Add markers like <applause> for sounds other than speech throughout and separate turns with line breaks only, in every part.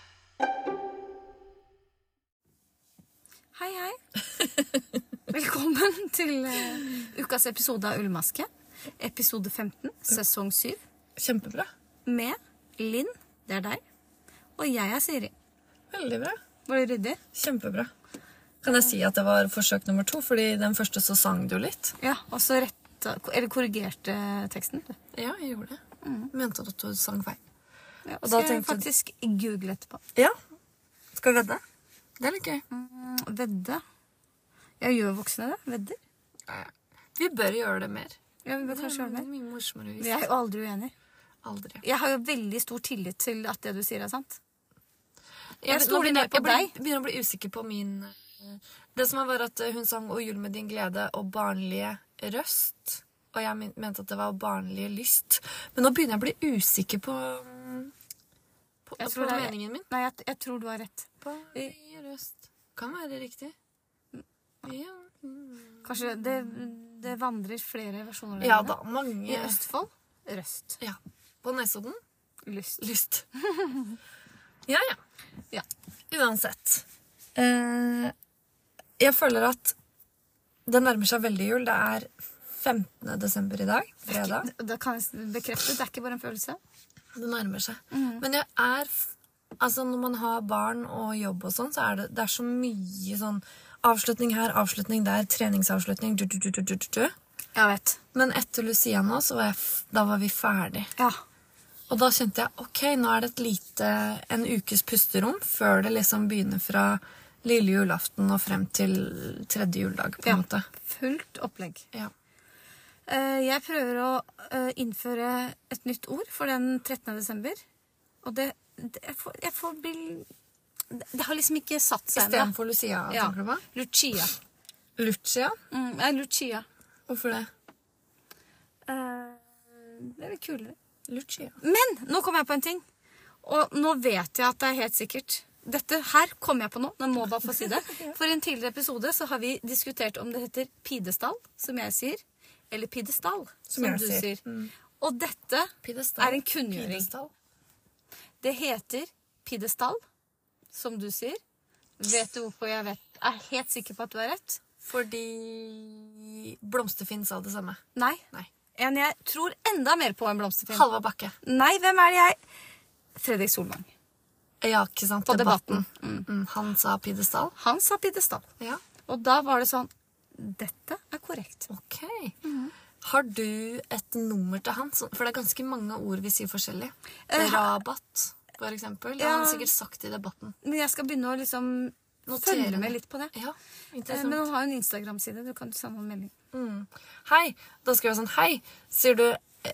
<laughs> til eh, ukas episode av Ullmaske. Episode 15, sesong 7,
Kjempebra.
med Linn, det er deg, og jeg er Siri.
Veldig bra.
Var det ryddig?
Kjempebra. Kan jeg si at det var forsøk nummer to? Fordi den første så sang du litt.
Ja, og så retta Eller korrigerte eh, teksten.
Ja, jeg gjorde det. Mente at du sang feil.
Ja,
Og
og
da
da skal jeg
tenkte du-
faktisk google etterpå.
Ja. Skal vi vedde? Det er litt gøy.
Mm, Vedde. Ja, gjør voksne det? Vedder?
Vi bør gjøre det mer.
Ja, vi bør kanskje gjøre det mer.
mye morsommere
Vi er jo aldri uenige.
Aldri.
Jeg har jo veldig stor tillit til at det du sier, er sant.
Jeg,
stoler
begynner,
mer på
jeg blir, begynner å bli usikker på min eh, Det som var at eh, hun sang 'Å jul med din glede' og 'barnlige røst'. Og jeg men- mente at det var 'barnlige lyst'. Men nå begynner jeg å bli usikker på mm, På,
Jeg
på
tror det er-
meningen min.
Nei, jeg, jeg tror du har rett.
Barnlige røst kan være riktig. Ja, mm.
Kanskje det, det vandrer flere versjoner der
ja
inne.
da, mange
I Østfold røst.
Ja. På Nesodden
Lyst.
lyst. <laughs> ja, ja.
Ja.
Uansett. Eh, jeg føler at det nærmer seg veldig jul. Det er 15. desember i dag, fredag.
Da kan jeg s- bekrefte. Det er ikke bare en følelse.
Det nærmer seg. Men jeg er f- Altså, når man har barn og jobb og sånn, så er det, det er så mye sånn Avslutning her, avslutning der, treningsavslutning du, du, du, du, du, du, du.
Jeg vet.
Men etter Lucia nå, så var jeg f da var vi ferdig.
Ja.
Og da kjente jeg ok, nå er det et lite, en ukes pusterom før det liksom begynner fra lille julaften og frem til tredje juledag, på en
Ja.
måte.
Fullt opplegg.
Ja.
Eh, Jeg prøver å eh, innføre et nytt ord for den 13. desember. Og det, det jeg, får, jeg får bli det, det har liksom ikke satt seg ennå.
Istedenfor Lucia,
Ja.
tenker du på?
Lucia.
Lucia?
Mm, nei, Lucia.
Hvorfor det?
Eh, det er litt kulere.
Lucia.
Men nå kom jeg på en ting. Og nå vet jeg at det er helt sikkert. Dette her kom jeg på nå. Nå må jeg bare få
<laughs>
si det. For i en tidligere episode så har vi diskutert om det heter pidestall, som jeg sier, eller pidestall, som,
jeg
du
sier. Mm.
sier. Og dette
Pidestall.
er en kunngjøring.
Pidestall.
Det heter pidestall, som du sier. Vet du hvorfor jeg vet? er helt sikker på at du har rett?
Fordi Blomsterfinn sa det samme.
Nei.
Nei.
En jeg tror enda mer på enn blomsterfilm.
Halva Bakke.
Nei, hvem er det jeg Fredrik Solvang.
Ja, ikke sant?
På Debatten.
Mm, han sa pidestall.
Han sa pidestall.
Ja.
Og da var det sånn Dette er korrekt.
Ok. Har du et nummer til han? Som- For det er ganske mange ord vi sier forskjellig.
Eh,
Rabatt, for eksempel. Det har
ja.
han sikkert sagt i debatten.
Men jeg skal begynne å liksom
Notere
følge
det.
med litt på det.
Ja,
Eh, Men han
interessant.
har jo en Instagram-side. Du kan sende en melding.
Mm. Hei, da skal jeg sånn, hei, sier du eh,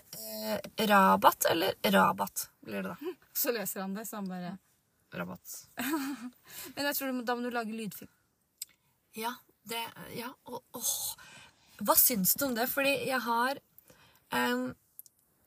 eh, rabatt eller rabatt? Blir det da.
Så leser han det. Så han bare
Rabatt.
Men jeg tror du, må- da må du lage lydfilm.
Ja, det, ja, og åh. Hva syns du om det? Fordi jeg har em,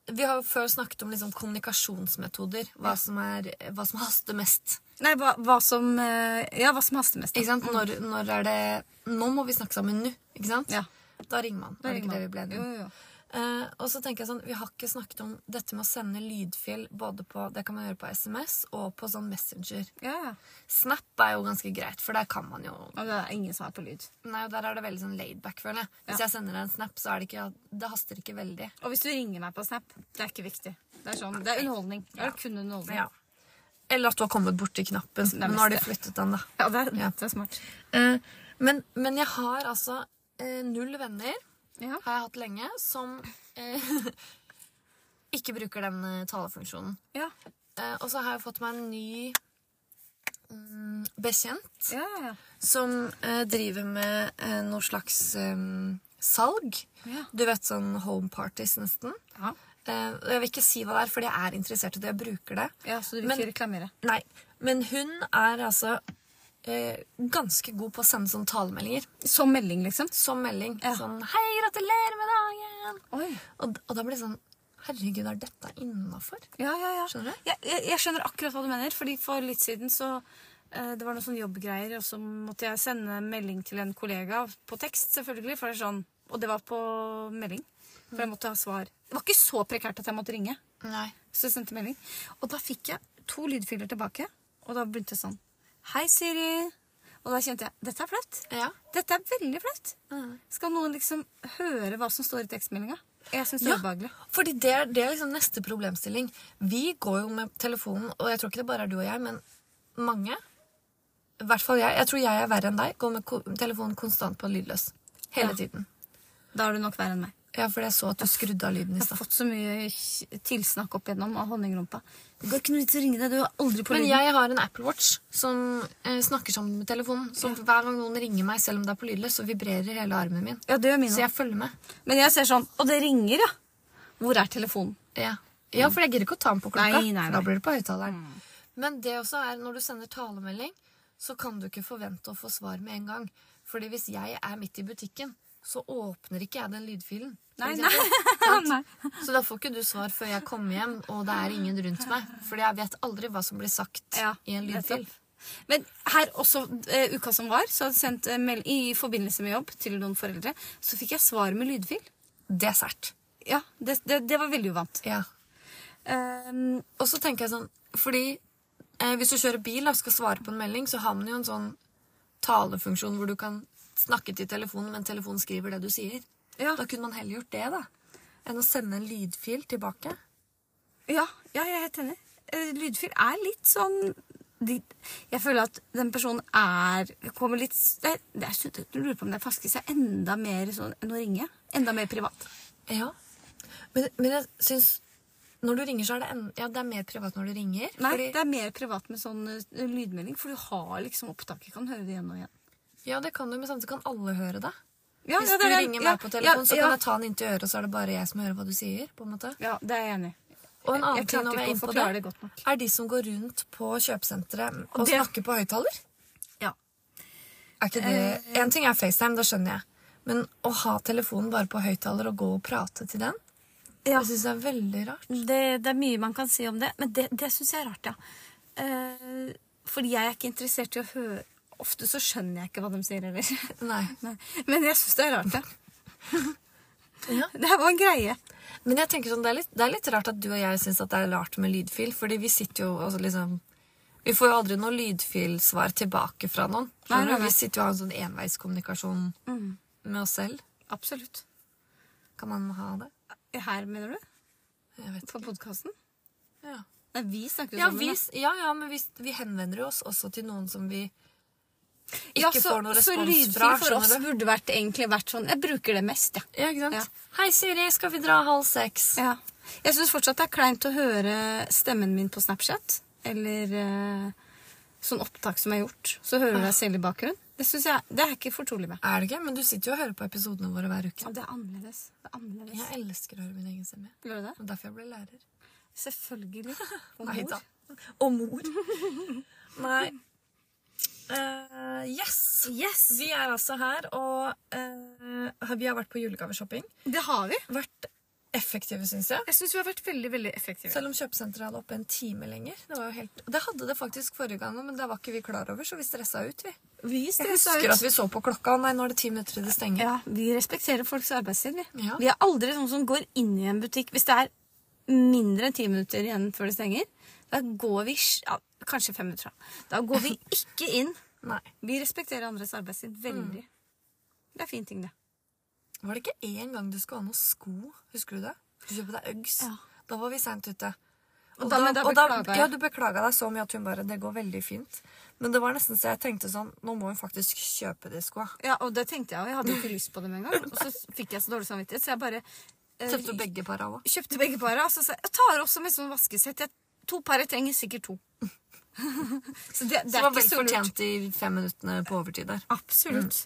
Vi har jo før snakket om liksom kommunikasjonsmetoder. Hva som, er, hva som haster mest.
Nei, hva, hva som eh, Ja, hva som haster mest.
Ikke sant? Når, når er det Nå må vi snakke sammen nå, ikke sant?
Ja.
Da ringer man.
Da
er det
ringer
ikke
man.
det vi ble enige
Jo,
om?
jo, jo.
Eh, og så tenker jeg sånn, Vi har ikke snakket om dette med å sende lydfil både på det kan man gjøre på SMS og på sånn Messenger.
Ja, ja.
Snap er jo ganske greit, for der kan man jo
Og det er ingen som er på lyd.
Nei, og Der er det veldig sånn laidback, føler jeg. Hvis jeg sender deg en snap, så er det ikke Det haster ikke veldig.
Og hvis du ringer meg på Snap, det er ikke viktig. Det er sånn, det er underholdning. Det er kun underholdning.
Ja. Eller at du har kommet borti knappen.
er
Nå har de
mest
flyttet den, da.
Ja, det, er,
Ja.
det er smart.
Eh, men, men jeg har altså eh, null venner.
Ja.
har jeg hatt lenge, som eh, <laughs> ikke bruker den eh, talefunksjonen.
Ja,
Eh, og så har jeg fått meg en ny mm, bekjent
ja, ja.
som eh, driver med eh, noe slags eh, salg.
Ja.
Du vet sånn home parties, nesten.
ja.
Eh, og jeg vil ikke si hva det er, fordi jeg er interessert i det. Jeg bruker det.
ja så du vil
Men-
ikke reklamere?
Nei, men hun er altså eh, ganske god på å sende sånne talemeldinger.
Som melding, liksom?
Som melding.
Ja.
Sånn 'Hei, gratulerer med dagen!'
Oi.
Og, og da blir det sånn Herregud, er dette innafor?
Ja, ja, ja.
Skjønner du?
Jeg, jeg, jeg skjønner akkurat hva du mener. Fordi For litt siden så eh, Det var noen sånne jobbgreier, og så måtte jeg sende melding til en kollega på tekst, selvfølgelig. For det er sånn, og det var på melding. For jeg måtte ha svar. Det var ikke så prekært at jeg måtte ringe.
Nei.
Så jeg sendte melding. Og da fikk jeg to lydfiler tilbake. Og da begynte jeg sånn Hei, Siri. Og Og da kjente jeg dette er flaut.
Ja.
Dette er veldig flaut.
Mm.
Skal noen liksom høre hva som står i tekstmeldinga? Jeg syns det
Ja,
er ubehagelig.
fordi det er, det er liksom neste problemstilling. Vi går jo med telefonen, og jeg tror ikke det bare er du og jeg, men mange, i hvert fall jeg, jeg tror jeg er verre enn deg, går med ko telefonen konstant på lydløs. Hele
Ja.
tiden.
Da er du nok verre enn meg.
Ja, fordi jeg så at du skrudde av lyden i
Jeg har
stad.
fått så mye k- tilsnakk opp igjennom av honningrumpa. Det går ikke noe vits å ringe deg, du er aldri på
Men
lyden.
jeg har en Apple Watch som eh, snakker sammen med telefonen. Så hver gang noen ringer meg, selv om det er på lydløs, så vibrerer hele armen min.
Ja, det gjør min
Så
også.
jeg følger med.
Men jeg ser sånn, og det ringer, ja. Hvor er telefonen?
<laughs> Ja, ja for jeg gidder ikke å ta den på klokka.
Nei, Mm. nei, nei.
for Da blir det på høyttaleren. Men det også er, når du sender talemelding, så kan du ikke forvente å få svar med en gang. Fordi hvis jeg er midt i butikken, så åpner ikke jeg den lydfilen. for
Nei,
eksempel. <laughs>
Nei.
Så da får ikke du svar før jeg kommer hjem, og det er ingen rundt meg. Fordi jeg vet aldri hva som blir sagt
Ja,
i en lydfil.
nettopp. Men her også, eh, uka som var, så hadde jeg sendt eh, meld i forbindelse med jobb til noen foreldre. Så fikk jeg svar med lydfil.
Det er sært.
Ja, det, det, det var veldig uvant.
Ja.
Ehm,
Og så tenker jeg sånn, fordi eh, hvis du kjører bil da, og skal svare på en melding, så har man jo en sånn talefunksjon hvor du kan snakke til telefonen, men telefonen skriver det du sier.
Ja.
Da kunne man heller gjort det, da. Enn å sende en lydfil tilbake.
ja, ja, jeg er helt enig. Eh, Lydfil er litt sånn de, Jeg føler at den personen er Kommer litt det, det er, Jeg lurer på om det fasker seg enda mer sånn enn å ringe. Enda mer privat.
Ja. Men, men jeg syns Når du ringer, så er det, en, ja, det er mer privat når du ringer.
Nei,
fordi,
det er mer privat med sånn eh, lydmelding, for du har liksom opptaket. Kan høre det igjen og igjen.
Ja, det kan du, men samtidig kan alle høre det.
Ja,
Hvis
ja, det
du
er-
ringer meg
ja,
på
ja,
telefon, så
ja.
kan jeg ta den inntil øret, og så er det bare jeg som hører hva du sier. på en måte.
Ja, det er jeg enig i.
Og en annen
Jeg
ting
klarte
når vi
ikke
er
å
inne på det,
forklare det godt nok.
er de som går rundt på kjøpesenteret og
Det-
snakker på høyttaler.
Ja.
Er ikke
Eh,
det En ting er FaceTime, det skjønner jeg. Men å ha telefonen bare på høyttaler og gå og prate til den,
Ja.
jeg syns det er veldig rart.
Det, det er mye man kan si om det, men det, det syns jeg er rart, ja. Eh, fordi jeg er ikke interessert i å høre Ofte så skjønner jeg ikke hva de sier heller.
Nei.
<laughs> Nei. Men jeg syns det er rart, ja.
Ja.
<laughs> Det her var en greie.
Men jeg tenker sånn, det er litt, det er litt rart at du og jeg syns det er rart med lydfil, fordi vi sitter jo og liksom Vi får jo aldri noe lydfilsvar tilbake fra noen.
Nei, nei,
Skjønner
Mm.
du?
nei.
Vi sitter jo og har en sånn enveiskommunikasjon med oss selv.
Absolutt.
Kan man ha det?
Her, mener du?
Jeg vet
På podkasten?
ikke. Ja.
Nei, vi snakker jo
Ja,
sammen.
vi,
da.
s- ja, ja, men vi, s- vi henvender jo oss også til noen som vi ikke
Ja, så-
får noe
så
respons
lydfil
fra.
for oss
skjønner du?
burde vært, egentlig vært sånn Jeg bruker det mest, ja.
Ja, ikke sant?
Ja.
Hei, Siri, skal vi dra halv seks?
Ja. Jeg syns fortsatt det er kleint å høre stemmen min på Snapchat. Eller eh, sånn opptak som er gjort. Så hører du deg selv i bakgrunnen. Det synes jeg, det er jeg ikke fortrolig med.
Er det ikke? Men du sitter jo og hører på episodene våre hver uke.
Ja, det er annerledes. Det er annerledes.
Jeg elsker å høre min egen stemme.
Gjør du det?
Og derfor jeg ble lærer.
Selvfølgelig. <laughs> Og
Nei
mor.
da. Og
<laughs>
mor. Nei. Eh, yes!
Yes!
Vi er altså her, og eh, vi har vært på julegaveshopping.
Det har vi.
Vært effektive, syns jeg.
Jeg syns vi har vært veldig veldig effektive.
Selv om kjøpesenteret hadde oppe en time lenger. Det var jo helt... Det hadde det faktisk forrige gang, men det var ikke vi klar over, så vi stressa ut, vi.
Vi
Jeg husker at vi så på klokka, og nei, nå er det ti minutter til det stenger.
Ja, vi respekterer folks arbeidstid, vi.
Ja.
Vi er aldri sånne som går inn i en butikk hvis det er mindre enn ti minutter igjen før det stenger. Da går vi sj- ja, Kanskje fem minutter. da. Da går vi <laughs> ikke inn.
Nei.
Vi respekterer andres arbeidstid veldig. Det er fin ting, det.
Var det ikke én gang du skulle ha noen sko? Husker du det? Du kjøpte deg Uggs.
Ja.
Da var vi seint ute.
Og da- men da beklaga jeg.
ja, Du beklaga deg så mye at hun bare Det går veldig fint. Men det var nesten så jeg tenkte sånn Nå må hun faktisk kjøpe de skoa.
Ja, og det tenkte jeg og Jeg hadde ikke lyst på dem engang. Og så fikk jeg så dårlig samvittighet, så jeg bare eh,
Kjøpte du begge par av òg?
kjøpte begge para. Og så sa jeg jeg tar også med sånn vaskesett. Jeg, to par jeg trenger sikkert to. <laughs> så det, det
Det
er
var
ikke
vel
så lurt.
fortjent i fem minuttene på overtid der.
Absolutt.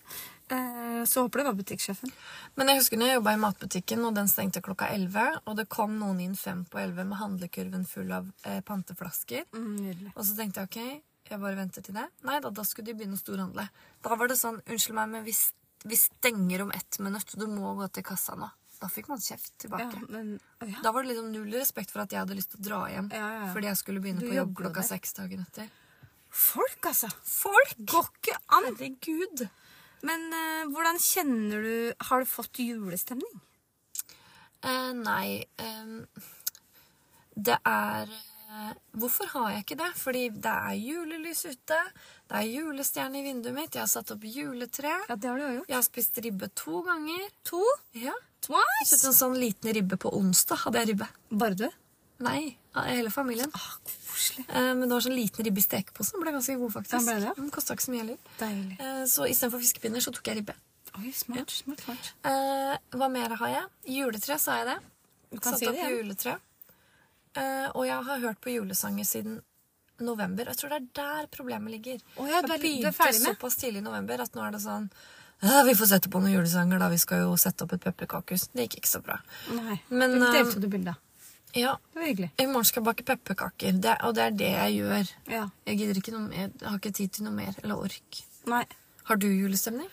Eh, så håper det var butikksjefen.
Men jeg husker når jeg jobba i matbutikken, og den stengte klokka 11. Og det kom noen inn fem på 11 med handlekurven full av eh, panteflasker.
Mm, Nydelig.
Og så tenkte jeg ok, jeg bare venter til det. Nei da, da skulle de begynne å storhandle. Da var det sånn unnskyld meg, men vi, s- vi stenger om ett minutt. Du må gå til kassa nå. Da fikk man kjeft
Ja,
tilbake.
men, å ja.
Da var det liksom null respekt for at jeg hadde lyst til å dra hjem.
Ja, ja, ja.
Fordi jeg skulle begynne
Du
på jobb
jobber jo
klokka
der.
seks dagen etter.
Folk, altså!
Folk!
Går ikke an!
Herregud.
Men eh, hvordan kjenner du Har du fått julestemning?
Eh, nei. ehm, det er Eh, Hvorfor har jeg ikke det? Fordi det er julelys ute, det er julestjerne i vinduet mitt, jeg har satt opp juletre.
Ja, det har du jo gjort.
Jeg har spist ribbe to ganger.
To?
Ja. Jeg
Twice?
kjøpte en sånn liten ribbe på onsdag. Hadde jeg ribbe?
Bare du?
Nei, hele familien.
Ah, koselig.
Eh, Men det var sånn liten ribbe i stekepose. Den ble ganske god, faktisk.
Ja, ble det?
Den kosta ikke så mye heller.
Deilig.
Eh, Så istedenfor fiskepinner så tok jeg ribbe.
Oi, smart. smart, smart.
Eh, Hva mer har jeg? Juletre, sa jeg det.
Du kan
Satt
si det
opp
igjen.
juletre. Eh, Og jeg har hørt på julesanger siden november. Jeg tror det er der problemet ligger.
Å ja, du er-
jeg
du er
begynte
ferdig med?
såpass tidlig i november at nå er det sånn «Ja, Vi får sette på noen julesanger, da. Vi skal jo sette opp et pepperkakehus. Det gikk ikke så bra.
Nei.
Men,
det
eh,
delte du bildet av.
Ja,
Det var hyggelig.
i morgen skal jeg bake pepperkaker, det, og det er det jeg gjør.
Ja.
Jeg gidder ikke noe mer, jeg har ikke tid til noe mer, eller ork.
Nei.
Har du julestemning?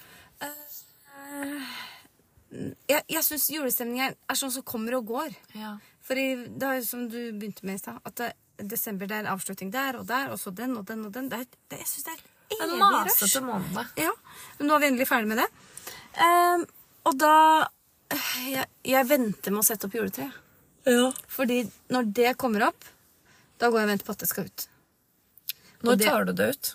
Jeg, jeg syns julestemningen er sånn som kommer og går.
Ja.
For det er jo som du begynte med i stad, at det, desember det er avslutning der og der, og så den og den og den. Det er, det, jeg syns det er et
En
evig rush.
masete måned.
Ja, men nå er vi endelig ferdig med det. Ehm, og da eh, jeg, jeg venter med å sette opp juletreet.
Ja.
Fordi når det kommer opp, da går jeg og venter på at det skal ut. Og
Når
det-
tar du det ut?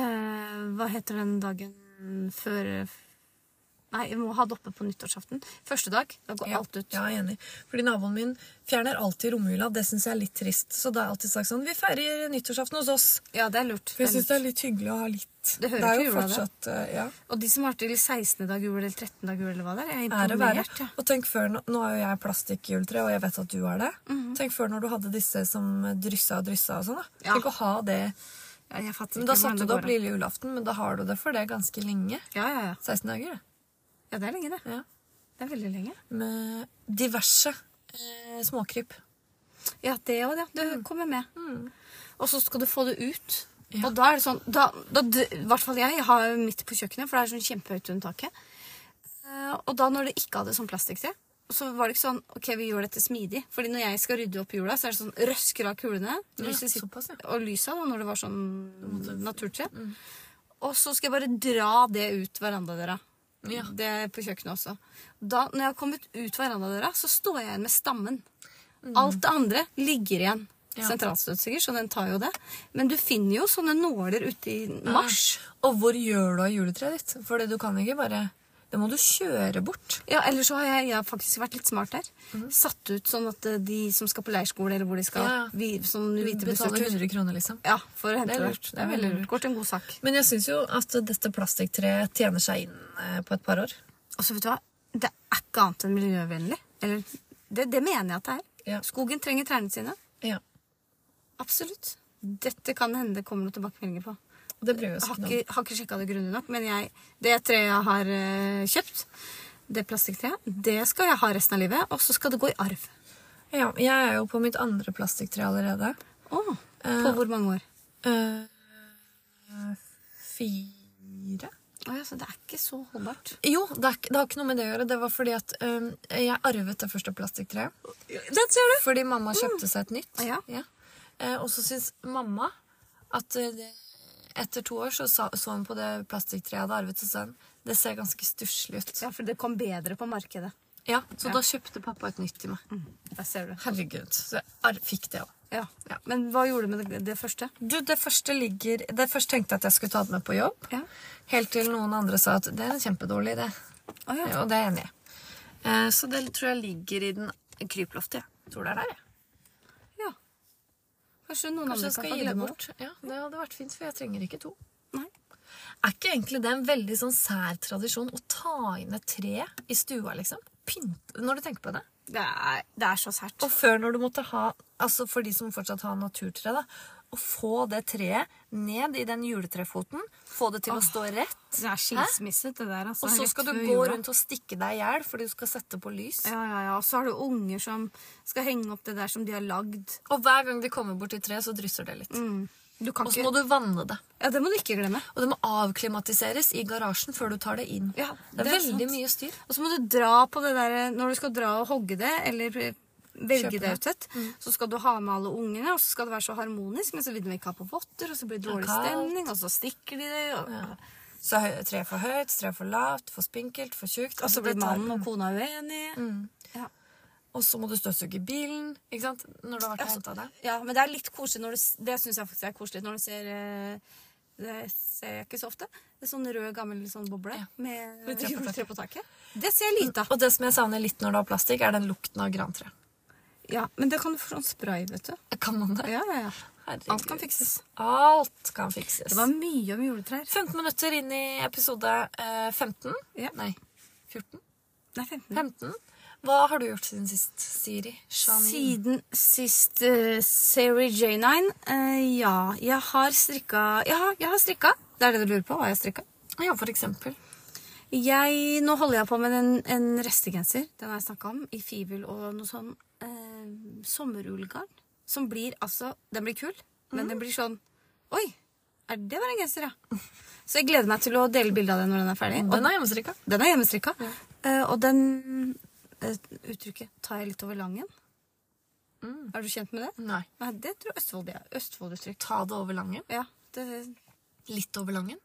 Eh, hva heter den dagen før eh, Nei, vi må ha det oppe på nyttårsaften. Første dag. Da går alt ut.
Ja, jeg er enig. Fordi naboen min fjerner alltid romjula, det synes jeg er litt trist. Så da har jeg alltid sagt sånn, vi feirer nyttårsaften hos oss.
Ja, det er lurt.
For jeg synes
det
det
er lurt.
er litt hyggelig å ha litt.
Det hører
er
til
jo
jula, det.
fortsatt, eh, ja.
Og de som har vært til 16. dag jul eller 13. dag jul eller hva det er, jeg er
Ære være.
imponert. ja.
Og tenk før, nå- nå har jo jeg plastikkjuletre, og jeg vet at du har det. Tenk før når du hadde disse som dryssa og dryssa og sånn. da.
Ja.
Tenk å ha det.
Ja, jeg fatter
Men
ikke
Da
hvordan
satte du det
går
opp
an.
lille julaften, men da har du det for det ganske lenge.
Ja, ja, ja.
16 dager, det.
Ja, det er lenge, det.
Ja.
Det er veldig lenge.
Med diverse eh, småkryp. Mm.
Ja, det òg, ja. Det kommer med. Og så skal du få det ut.
Ja.
Og da er det sånn da, da, d- I hvert fall jeg. Jeg har jo midt på kjøkkenet, for det er sånn kjempehøyt under taket. Eh, og da når det ikke hadde sånn plastikktre, så var det ikke sånn OK, vi gjør dette smidig. Fordi når jeg skal rydde opp jula, så er det sånn røsker av kulene.
Ja,
lyset sitter-
såpass, ja.
Og lysa, da, når det var sånn naturtre.
Mm.
Og så skal jeg bare dra det ut verandadøra.
Ja.
Det er på kjøkkenet også. Da, når jeg har kommet ut verandadøra, så står jeg igjen med stammen. Alt det andre ligger igjen.
Mm. Ja.
Sentralstøtsikker, så den tar jo det. Men du finner jo sånne nåler ute i
Ah.
mars.
Og hvor gjør du av juletreet ditt? For du kan ikke bare Det må du kjøre bort.
Ja, eller så har jeg, jeg har faktisk vært litt smart der. Satt ut sånn at eh, de som skal på leirskole, eller hvor de skal,
Mm. Ja, ja.
vi, sånn
Du
hvite
betaler
busser
100 kroner, liksom.
Ja, for å hente
Det er
det.
lurt.
Det er veldig lurt. Går til en god sak.
Men jeg syns jo at dette plastikktreet tjener seg inn eh, på et par år.
Og så vet du hva, det er ikke annet enn miljøvennlig. Eller, det, det mener jeg at det er.
Ja.
Skogen trenger trærne sine.
Ja.
Absolutt. Dette kan hende det kommer noen tilbakemeldinger på.
Det bryr vi oss
Har
ikke noe om.
ikke, har ikke sjekka det grundig nok, men jeg, det treet jeg har eh, kjøpt, det plastikktreet, det skal jeg ha resten av livet, og så skal det gå i arv.
Ja, jeg er jo på mitt andre plastiktre allerede.
Åh,
Eh,
på hvor mange år?
Eh, fire?
Å ja, så det er ikke så holdbart.
Jo, det, er, ikke- det har ikke noe med det å gjøre. Det var fordi at eh, jeg arvet det første plastikktreet.
Den ser du!
Fordi mamma kjøpte seg et nytt.
Ja.
Eh, og så syns mamma at eh, det, etter to år så, sa, så hun på det plastikktreet jeg hadde arvet, og sa hun, det ser ganske stusslig ut.
Ja, for det kom bedre på markedet. Mm,
Ja, så da kjøpte pappa et nytt til meg.
Der ser du.
Herregud. Så jeg ar- fikk det òg.
Ja.
Ja.
Men hva gjorde du med det, det første?
Du, det første ligger Det første tenkte jeg at jeg skulle ta det med på jobb.
Ja.
Helt til noen andre sa at det er en kjempedårlig idé.
Å ja.
Og det er jeg enig i. Eh, Så det tror jeg ligger i den kryploftet. Jeg tror det er der, jeg.
ja. Kanskje noen andre
Kanskje
kan
jeg
få
skal gi det
glede av
bort. Ja, Det hadde vært fint, for jeg trenger ikke to.
Nei.
Er ikke egentlig det en veldig sånn sær tradisjon å ta inn et tre i stua, liksom? Pynte, når du tenker på det.
Det er, det er så sært.
Og før når du måtte ha, altså for de som fortsatt har naturtre, da, å få det treet ned i den juletrefoten, få det til å stå rett,
Det er skilsmisse, det der. Altså,
og så
rett
skal du
før
gå
jula.
rundt og stikke deg i hjel fordi du skal sette på lys.
Ja, ja, ja. Og så har du unger som skal henge opp det der som de har lagd.
Og hver gang de kommer bort til treet, så drysser det litt.
Mm. Du kan
Og så
ikke...
må du vanne det.
Ja, det må du ikke glemme.
Og det må avklimatiseres i garasjen før du tar det inn.
Ja,
det
det
er
er
veldig
sant.
mye styr.
Og så må du dra på det der Når du skal dra og hogge det, eller velge det Mm.
Kjøpe det.
ut et, så skal du ha med alle ungene, og så skal det være så harmonisk, men så vil de ikke ha på votter, og så blir det dårlig
kaldt.
stemning, og så stikker de det, og,
Så hø- tre for høyt, tre for lavt, for spinkelt, for tjukt.
Mm. og så
Altså,
blir mannen og kona uenige. Ja.
Og så må du støvsuge bilen ikke sant? når du har vært og
Altså,
henta deg.
Ja, men det er litt koselig når du s- Det syns jeg faktisk er koselig når du ser eh, Det ser jeg ikke så ofte. Det er sånn rød, gammel sånn boble
Ja.
med
Med tre på
juletre på taket. Det ser jeg lite av.
Og det som jeg savner litt når du har plastikk, er den lukten av grantre.
Ja, men det kan du få sånn spray, vet du.
Kan man det?
Ja, ja, ja.
Herregud.
Alt kan fikses.
Alt kan fikses.
Det var mye om juletrær.
15 minutter inn i episode eh, 15.
Ja.
Nei, 14?
Nei, 15.
15. Hva har du gjort siden sist, Siri? Janine?
Siden sist eh, Seri J9 eh, Ja, jeg har strikka Ja, jeg har strikka. Det er det du lurer på? Hva jeg har strikka?
Ja, for eksempel.
Jeg, nå holder jeg på med en, en restegenser, den har jeg snakka om, i fivel og noe sånn eh, sommerullgarn. Som blir altså Den blir kul, men
Mm.
den blir sånn Oi! Er det var en genser, ja. Så jeg gleder meg til å dele bilde av den når den er ferdig. Og
Den er hjemmestrikka.
den er hjemmestrikka. Eh, og den eh, uttrykket tar jeg litt over langen.
Mm.
Er du kjent med det?
Nei.
Nei, det tror jeg Østfold det er. Østfolduttrykk.
Ta det over langen.
Ja, det,
Litt over langen.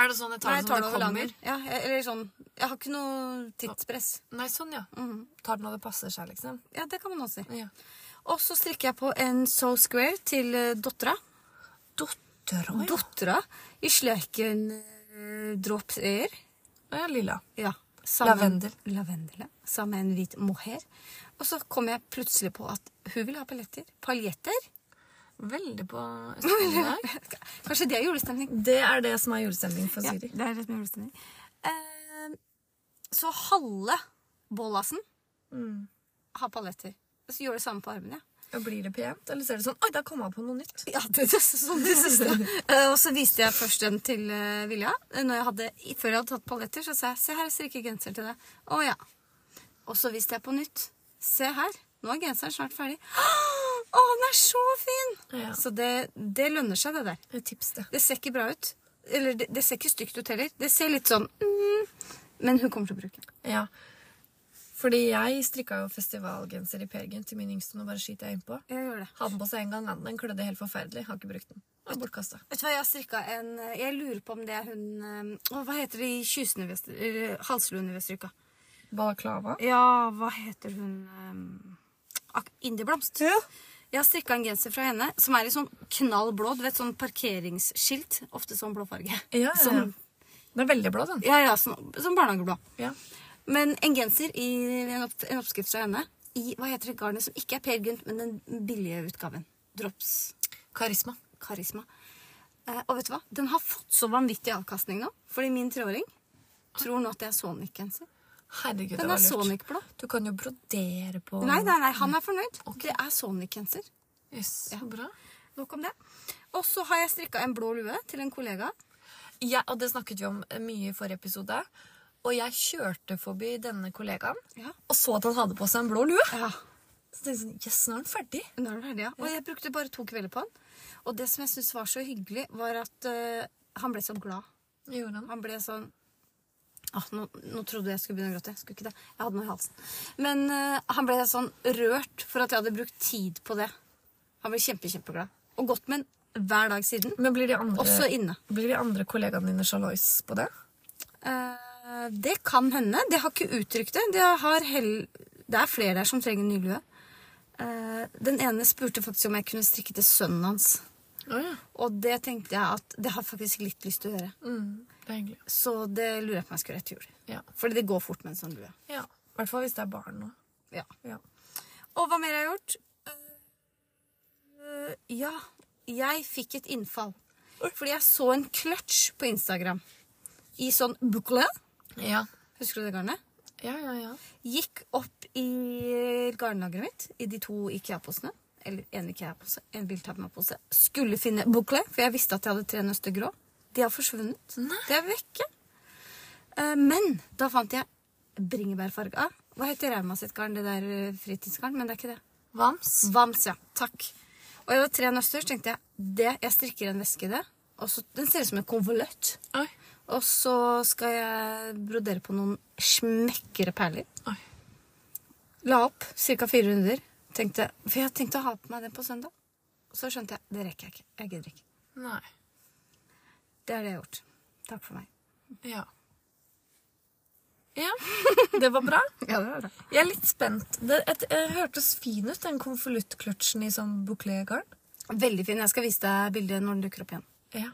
Er det sånn jeg tar
nei,
det
jeg
som
tar
det
det
kommer?
over langen. Ja, jeg- eller sånn Jeg har ikke noe tidspress.
Nei, sånn, ja. Tar det når det passer seg, liksom.
Ja, det kan man også si.
Ja.
Og så strikker jeg på en So Square til eh, dottera.
Dottera, ja.
Dottera i sløken eh, dropper.
ja. Lilla.
Ja. sammen-
Lavendel.
Lavendel, ja. Sammen med en hvit mohair. Og så kom jeg plutselig på at hun vil ha paljetter. Paljetter?
Veldig på <laughs> Østlandet.
<laughs> Kanskje det er julestemning?
det er det som er julestemning for
Ja,
Siri.
det er rett med julestemning. Eh, så halve bollasen
Mm.
har paljetter. Så gjør det samme på armene. Ja.
Og Blir det pent, eller ser det sånn Oi, der kom jeg på noe nytt.
Ja, det, det, sånn det siste. Eh, og så viste jeg først den til eh, Vilja. Eh, Når jeg hadde, i- før jeg hadde tatt paljetter, så sa jeg 'se her, jeg strikker genser til deg'. Å ja. Og så viste jeg på nytt. Se her, nå er genseren snart ferdig. Å, den er så fin!
Ja.
Så det, det lønner seg, det der.
Et tips, det.
Det ser ikke bra ut. Eller det, det ser ikke stygt ut heller. Det ser litt sånn mm, Men hun kommer til å bruke den.
Ja. Fordi jeg strikka jo festivalgenser i Peer Gynt til min yngste. Nå bare skyter jeg innpå.
Jeg gjør det.
Hadde den på seg en gang, men den klødde helt forferdelig. Har ikke brukt den. Den er Bortkasta.
Vet du hva, Jeg har strikka en eh, Jeg lurer på om det er hun eh, Å, hva heter det i kysene vi har stri- eller halsluene vi har strikka?
Balaklava.
Ja, hva heter hun um, Ak- Indieblomst. Jeg har strikka en genser fra henne som er i sånn knall blå. Du vet sånn parkeringsskilt. Ofte sånn blåfarge.
Ja, ja, ja.
Sånn,
Den er veldig blå, den.
ja, ja, sånn, sånn barnehageblå.
Ja.
Men en genser i en, opp, en oppskrift fra henne i hva heter det garnet som ikke er Per Gynt, men den billige utgaven. Drops
Karisma.
Karisma. Eh, og vet du hva? Den har fått så vanvittig avkastning nå, fordi min treåring tror nå at det er Sonic-genser.
Herregud, det
Den
var
er
lurt.
Sonic-blå.
Du kan jo brodere på
Nei, nei, nei, han er fornøyd. Det er Sonic-genser.
Yes, så bra.
Nok om det. Og så har jeg strikka en blå lue til en kollega.
Ja, og det snakket vi om eh, mye i forrige episode. Og jeg kjørte forbi denne kollegaen
Ja.
og så at han hadde på seg en blå lue.
ja.
Så tenkte jeg sånn, yes, nå er den ferdig.
Nå er det ferdig, ja. Og jeg brukte bare to kvelder på han. Og det som jeg syntes var så hyggelig, var at eh, han ble så glad.
Gjorde han.
Han ble sånn ah, nå, nå trodde jeg skulle begynne å gråte. Jeg skulle ikke det. Jeg hadde noe i halsen. Men eh, han ble sånn rørt for at jeg hadde brukt tid på det. Han ble kjempe, kjempeglad. Og gått med en hver dag siden.
Men blir de andre,
Også inne.
blir de andre kollegaene dine sjalouis på det?
Eh, det kan hende. Det har ikke uttrykt det. Det, har hell... det er flere der som trenger en ny lue. Eh, den ene spurte faktisk om jeg kunne strikke til sønnen hans.
Å ja.
Og det tenkte jeg at det har jeg faktisk litt lyst til å gjøre.
Mm, det er hyggelig.
Så det lurer jeg på om jeg skal gjøre etter jul.
Ja.
Fordi det går fort med en sånn lue.
ja. I hvert fall hvis det er barn nå.
Ja.
Ja.
Og hva mer jeg har jeg gjort? Eh, ja, jeg fikk et innfall. Fordi jeg så en clutch på Instagram. I sånn bukle.
Ja.
Husker du det garnet?
Ja, ja, ja.
Gikk opp i garnlageret mitt, i de to IKEA-posene. Eller en IKEA-pose, en Biltema-pose. Skulle finne bukle, for jeg visste at jeg hadde tre nøster grå. De har forsvunnet. De er vekke. Eh, Men da fant jeg bringebærfarga. Hva heter Rauma sitt garn? Det der eh, fritidsgarn? Men det er ikke det.
Vams.
Vams, ja. Takk. Og jeg hadde tre nøster, så tenkte jeg det, jeg strikker en veske i det. Og så, den ser ut som en konvolutt.
Oi.
Og så skal jeg brodere på noen smekkere perler.
Oi.
La opp ca. 400. Tenkte, for jeg tenkte å ha på meg den på søndag. Så skjønte jeg det rekker jeg ikke. Jeg gidder ikke.
Nei.
Det er det jeg har gjort. Takk for meg.
Ja. Ja, <laughs> det var bra.
Ja, det var bra.
Jeg er litt spent. Det et, eh, hørtes fin ut, den konvoluttkløtsjen i sånn bouclé-garn.
Veldig fin. Jeg skal vise deg bildet når den dukker opp igjen.
Ja.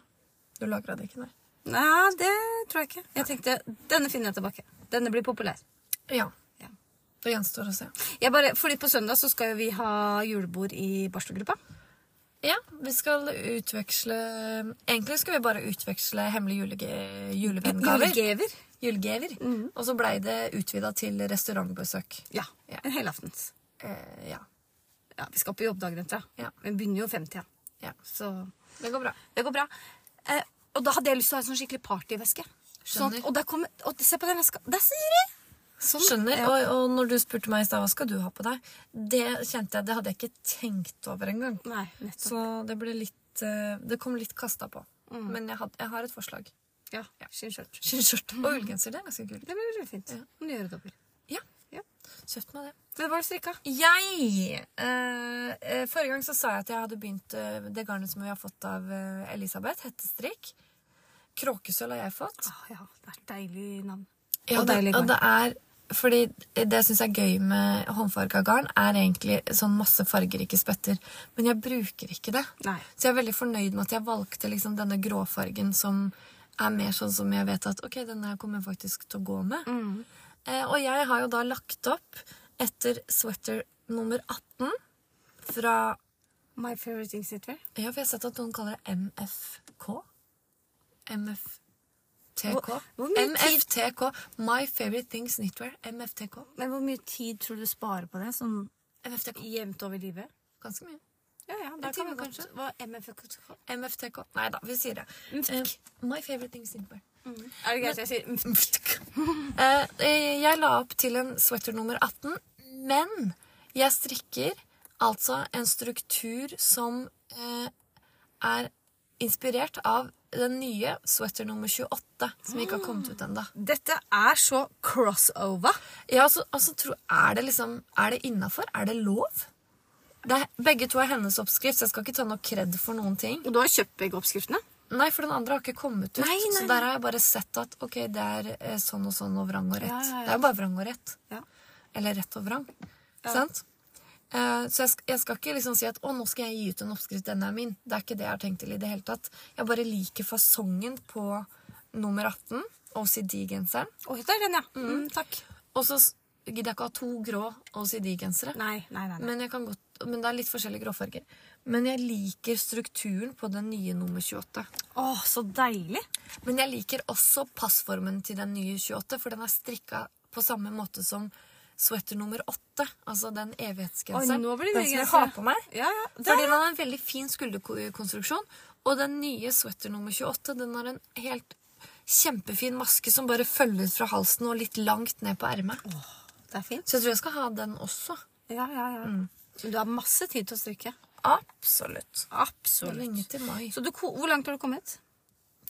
Du lagra det ikke, nei?
Nei, det tror jeg ikke. Jeg tenkte, Denne finner jeg tilbake. Denne blir populær.
Ja.
Ja.
Det gjenstår å se.
Jeg bare, fordi På søndag så skal jo vi ha julebord i barselgruppa.
Ja, vi skal utveksle Egentlig skulle vi bare utveksle hemmelige julege, julevenngaver.
Julegaver.
Julegaver. Og så blei det utvida til restaurantbesøk.
Ja.
Ja.
En helaftens.
Eh, ja.
Ja, vi skal på jobb dagen etter.
Ja.
Vi begynner jo 50, ja.
ja.
så
Det går bra.
det går bra. Eh, og da hadde jeg lyst til å ha en sånn skikkelig partyveske. Sånn, at-
Skjønner.
og der kommer, og se på den veska. Der sier de! Sånn.
Skjønner.
Ja.
Og, og når du spurte meg i stad hva skal du ha på deg, det kjente jeg, det hadde jeg ikke tenkt over engang.
Nei, nettopp.
Så det ble litt eh, Det kom litt kasta på. Men jeg, had, jeg har et forslag.
Sånn. Ja, Skinnskjørt.
Skinnskjørte og ullgenser. Det er ganske kult.
Det blir veldig fint. Må du gjøre det over.
Ja.
Ja.
Søtt med det.
Men var det strikka?
Jeg eh, eh, Forrige gang så sa jeg at jeg hadde begynt eh, det garnet som vi har fått av eh, Elisabeth. Hettestrikk. Kråkesølv har jeg fått.
Åh, ja, det er et deilig navn.
Ja,
Og
det,
deilig
og
garn.
det er fordi det jeg syns er gøy med håndfarga garn, er egentlig sånn masse fargerike spetter. Men jeg bruker ikke det.
Nei.
Så jeg er veldig fornøyd med at jeg valgte liksom denne gråfargen som er mer sånn som jeg vet at ok, denne her kommer jeg faktisk til å gå med.
Mm.
Eh, og jeg har jo da lagt opp etter sweater nummer 18 fra
My favorite things that wear.
Ja, for jeg har sett at noen kaller det MFK. MFTK.
Hvor- hvor mye
MFTK. My favorite things knitwear. MFTK.
Men hvor mye tid tror du sparer på det? Sånn
MFTK.
jevnt over livet?
Ganske mye.
Ja, ja, da
En
kan
time
vi kanskje
godt.
Hva MFK?
MFTK. Nei da, vi sier det. Eh, my favorite things knitwear.
Er det greit jeg sier mm,
<laughs> Eh, eh, jeg la opp til en sweater nummer 18, men jeg strikker altså en struktur som eh, er inspirert av den nye sweater nummer 28, som ikke har kommet ut ennå.
Dette er så crossover.
Ja, altså, altså tro, er det liksom Er det innafor? Er det lov? Det er, begge to er hennes oppskrift, så jeg skal ikke ta noe kred for noen ting.
Og du har kjøpt begge oppskriftene?
Nei, for den andre har ikke kommet ut.
Nei, nei,
Så der har jeg bare sett at ok, det er eh, sånn og sånn og vrang og rett.
Ja, ja, ja.
Det er jo bare vrang og rett.
Ja.
Eller rett og vrang. Sant? Eh, så jeg, sk- jeg skal ikke liksom si at å, nå skal jeg gi ut en oppskrift, denne er min. Det er ikke det jeg har tenkt til i det hele tatt. Jeg bare liker fasongen på nummer 18, OCD-genseren.
Å, det er den, ja. Mm, takk.
Og så s- gidder jeg ikke ha to grå OCD-gensere.
Nei, nei, nei. nei.
Men, jeg kan godt, men det er litt forskjellige gråfarger. Men jeg liker strukturen på den nye nummer 28.
Å, så deilig.
Men jeg liker også passformen til den nye 28, for den er strikka på samme måte som sweater nummer 8, altså den evighetsgenseren.
Oi, nå blir det
den som jeg
genser.
har på meg.
Ja, ja.
Fordi den har en veldig fin skulderkonstruksjon, og den nye sweater nummer 28, den har en helt kjempefin maske som bare følger fra halsen og litt langt ned på ermet.
Det er fint.
Så jeg tror jeg skal ha den også.
Ja, ja, ja. Men du har masse tid til å stryke.
Absolutt. Det er
Absolutt.
lenge til mai.
Så du, ko- hvor langt har du kommet?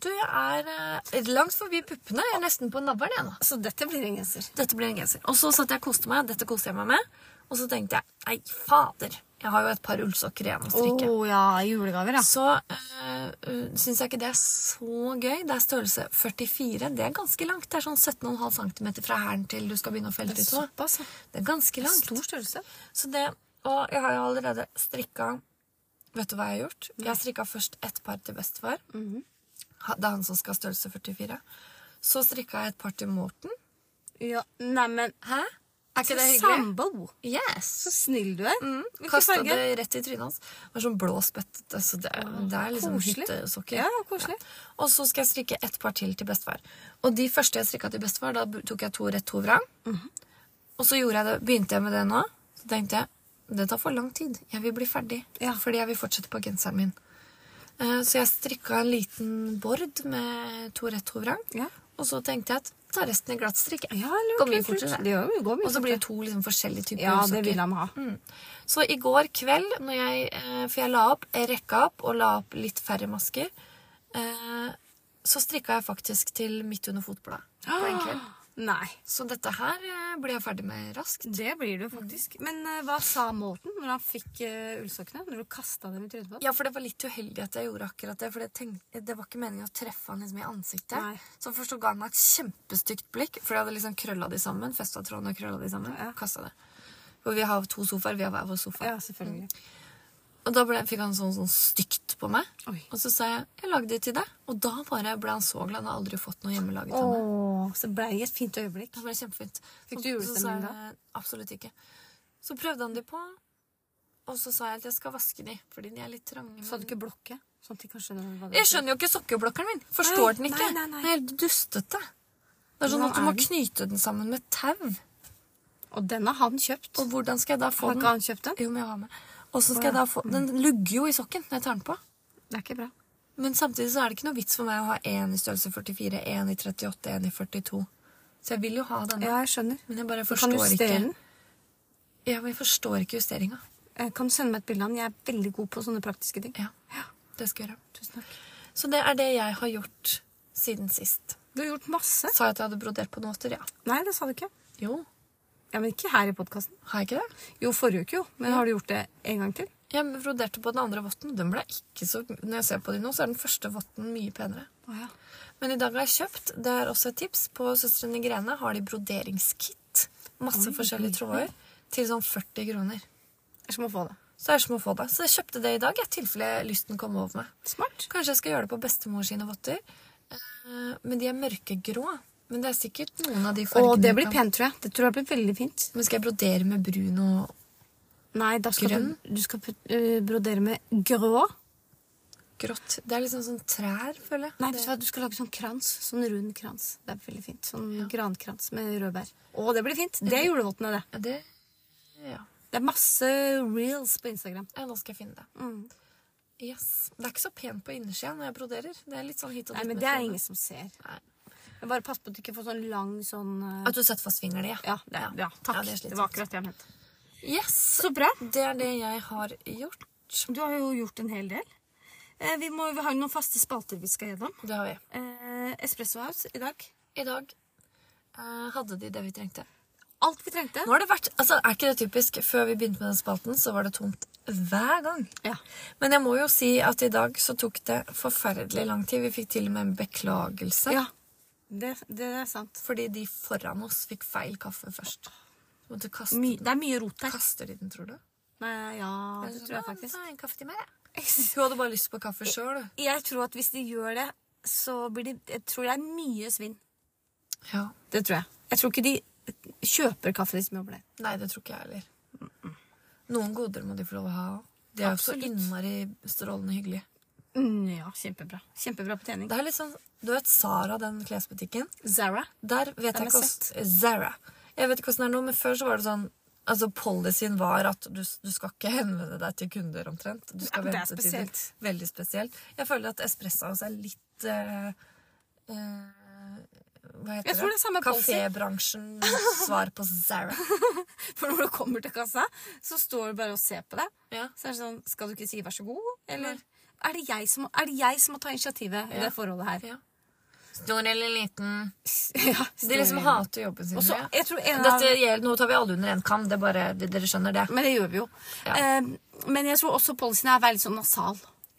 Du, jeg er eh, langt forbi puppene. Jeg er nesten på navlen, jeg nå.
Så dette blir en genser.
Dette blir en genser. Og så satt jeg og koste meg. Dette koste jeg meg med. Og så tenkte jeg, nei, fader. Jeg har jo et par ullsokker igjen å
Å
strikke.
ja, julegaver, ja.
Så øh, syns jeg ikke det er så gøy. Det er størrelse 44. Det er ganske langt. Det er sånn 17,5 cm fra hælen til du skal begynne å felle
Det er
til tå.
såpass, ja.
Det er ganske langt.
Stor størrelse.
Så det, og jeg har jo allerede strikka Vet du hva jeg har gjort? Jeg har strikka først ett par til bestefar. Ha- Det er han som skal ha størrelse 44. Så strikka jeg et par til Morten.
Ja, Neimen,
Hæ? Er ikke det hyggelig?
sambo!
Yes!
Så snill du er. Hvilken
Kasta
farge?
det rett i trynet hans. Det var sånn blå spettete, så det, det er liksom
koselig.
hyttesokker.
Ja, ja, koselig.
Og så skal jeg strikke ett par til til bestefar. Og de første jeg strikka til bestefar, da bu- tok jeg to rett, to vrang.
Mhm.
Og så gjorde jeg det, begynte jeg med det nå. Så tenkte jeg det tar for lang tid. Jeg vil bli ferdig.
Ja.
Fordi jeg vil fortsette på genseren min. Eh, Så jeg strikka en liten bord med to rett, to vrang.
Ja.
Og så tenkte jeg at ta resten i glatt strikk.
Ja, lurt,
Går mye
lurt, lurt.
fortere.
Det gjør jo- går mye
Og så blir det to liksom, forskjellige typer
Ja,
ullsokker.
det vil han ha.
Mm. Så i går kveld, når jeg, eh, for jeg la opp, jeg rekka opp og la opp litt færre
Ah.
masker, eh, så strikka jeg faktisk til midt under fotbladet. på en kveld.
<gasps> Nei.
Så dette her eh, blir jeg ferdig med raskt.
Det blir du faktisk. Men eh, hva sa Molten når han fikk uh, ullsokkene? Når du kasta dem i trynet på ham?
Ja, for det var litt uheldig at jeg gjorde akkurat det. For jeg tenkte, det var ikke meningen å treffe han liksom i ansiktet.
Nei.
Så først så ga han meg et kjempestygt blikk, for jeg hadde liksom krølla de sammen. Festa tråden og krølla de sammen.
Ja.
Kasta det. For vi har to sofaer. Vi har hver vår sofa.
selvfølgelig.
Og da ble, fikk han sånn, sånn stygt på meg.
Mm. Oi.
Og så sa jeg 'jeg lagde det til deg'. Og da bare ble han så glad. Han har aldri fått noe hjemmelaget av meg.
Åh, så ble det et fint øyeblikk.
Det ble kjempefint.
Fikk
Så-
du
så sa
julestemning
jeg, Absolutt ikke. Så prøvde han de på, og så sa jeg at jeg skal vaske de, fordi de er litt
Så
trange. men-
hadde du ikke blokke? Sånn at de kan skjønne hva det
Jeg skjønner jo ikke sokkeblokkeren min. Forstår
Nei,
den ikke.
nei, nei, nei.
Den er helt dustete. Det er sånn
Hva
at du
er
må
den?
knyte den sammen med tau.
Og den har han kjøpt.
Og hvordan skal jeg da få
Har
den?
ikke han kjøpt den?
Jo, men jeg har med. Og så skal
Å,
jeg
ja. Mm.
da få Den lugger jo i sokken når jeg tar den på.
Det er ikke bra.
Men samtidig så er det ikke noe vits for meg å ha én i størrelse 44, én i 38, én i 42. Så jeg vil jo ha denne.
Ja, jeg skjønner.
Men jeg bare
Du kan
forstår ikke
justere den.
Ja, men jeg forstår ikke justeringa.
Eh, Kan du sende meg et bilde av den? Jeg er veldig god på sånne praktiske ting.
Ja, det skal jeg gjøre.
Tusen takk.
Så det er det jeg har gjort siden sist.
Du har gjort masse.
Sa jeg at jeg hadde brodert på noter? Ja.
Nei, det sa du ikke.
Jo.
Ja, men ikke her i podkasten.
Har jeg ikke det?
Jo, forrige uke, jo. Men har du gjort det en gang til?
Jeg broderte på den andre votten. Den ble ikke så... Når jeg ser på de nå, så er den første votten mye penere.
Å ja.
Men i dag har jeg kjøpt, det er også et tips, på Søstrene Grene har de broderingskit. Masse
Oi,
forskjellige tråder til sånn 40 kroner.
Jeg skal må få det.
Så det er som å få det. Så jeg kjøpte det i dag, i tilfelle lysten kom over meg.
Smart.
Kanskje jeg skal gjøre det på bestemor sine votter. Eh, Men de er mørkegrå. Men det er sikkert noen av de fargene
Og det
jeg
blir
kan-
pent, tror jeg. Det tror jeg blir veldig fint.
Men skal jeg brodere med brun og
Nei, da skal
Grønn?
du, du skal putt- eh, brodere med grå.
grått? Det er liksom sånn trær, føler jeg.
Nei,
det...
vet du hva, du skal lage sånn krans. Sånn rund krans. Det er veldig fint. Sånn grankrans med rødbær. Mm. Å, det blir fint. Det er julevottene, det.
Ja, det... Ja.
Det er masse reels på Instagram.
ja, nå skal jeg finne det.
Mm.
Yes. Det er ikke så pent på innersida når jeg broderer. Det er litt sånn hit og dit.
Nei, men
med
det er
trådene.
ingen som ser.
Nei.
Men bare pass på at du ikke får sånn lang sånn eh,
At du setter fast fingeren i,
Ja, det, er- ja takk.
Ja, det er
det,
slitsomt.
var akkurat det jeg mente.
Yes.
Så bra.
Det er det jeg har gjort.
Du har jo gjort en hel del. Eh, vi, må, vi har jo noen faste spalter vi skal gjennom.
Det har vi.
Eh, Espresso House i dag.
I dag eh, hadde de det vi trengte.
Alt vi trengte.
Nå har det vært, altså Er ikke det typisk? Før vi begynte med den spalten, så var det tomt hver gang.
Ja.
Men jeg må jo si at i dag så tok det forferdelig lang tid. Vi fikk til og med en beklagelse.
ja. Det, det er sant.
Fordi de foran oss fikk feil kaffe først. Så måtte kaste,
My, det er mye rot her.
kaster de den, tror du?
Nei, ja, det tror jeg
Sånn,
faktisk.
«Nei, en kaffe til meg, jeg». Hun hadde bare lyst på kaffe sjøl.
Jeg tror at hvis de gjør det, så blir de Jeg tror det er mye svinn.
Ja.
Det tror jeg. Jeg tror ikke de kjøper kaffe de smører der.
Nei, det tror ikke jeg heller. Noen goder må de få lov å ha. De er jo så
Absolutt.
innmari strålende hyggelige.
Mm, ja, kjempebra. Kjempebra på trening.
Det er litt sånn, Du vet Sara, den klesbutikken?
Zara.
Der vet
Den
jeg
er
ikke hvordan Zara. Jeg vet ikke hvordan det er nå, men før så var det sånn Altså, Policyen var at du, du skal ikke <laughs> henvende deg til kunder, omtrent. Du
Ja,
skal
det er
vente til de-
spesielt.
Veldig spesielt. Jeg føler at Espresso House er litt eh, eh, Hva heter
Jeg tror det er samme policy. <laughs>
Kafébransjen svar på Zara.
<laughs> For når du kommer til kassa, så står du bare og ser på deg.
Ja.
Så er det sånn Skal du ikke si vær så god, eller? Er det, jeg som, er det jeg som må ta initiativet i
Ja.
det forholdet her?
ja. Stor eller liten?
<laughs> Ja,
De liksom hater jobben sin.
Og så,
ja.
jeg tror en av Mm.
Dette gjelder, nå tar vi alle under én kam. Det er bare, det, dere skjønner det.
Men det gjør vi jo.
Ja.
Eh, men jeg tror også policyen er veldig sånn nasal.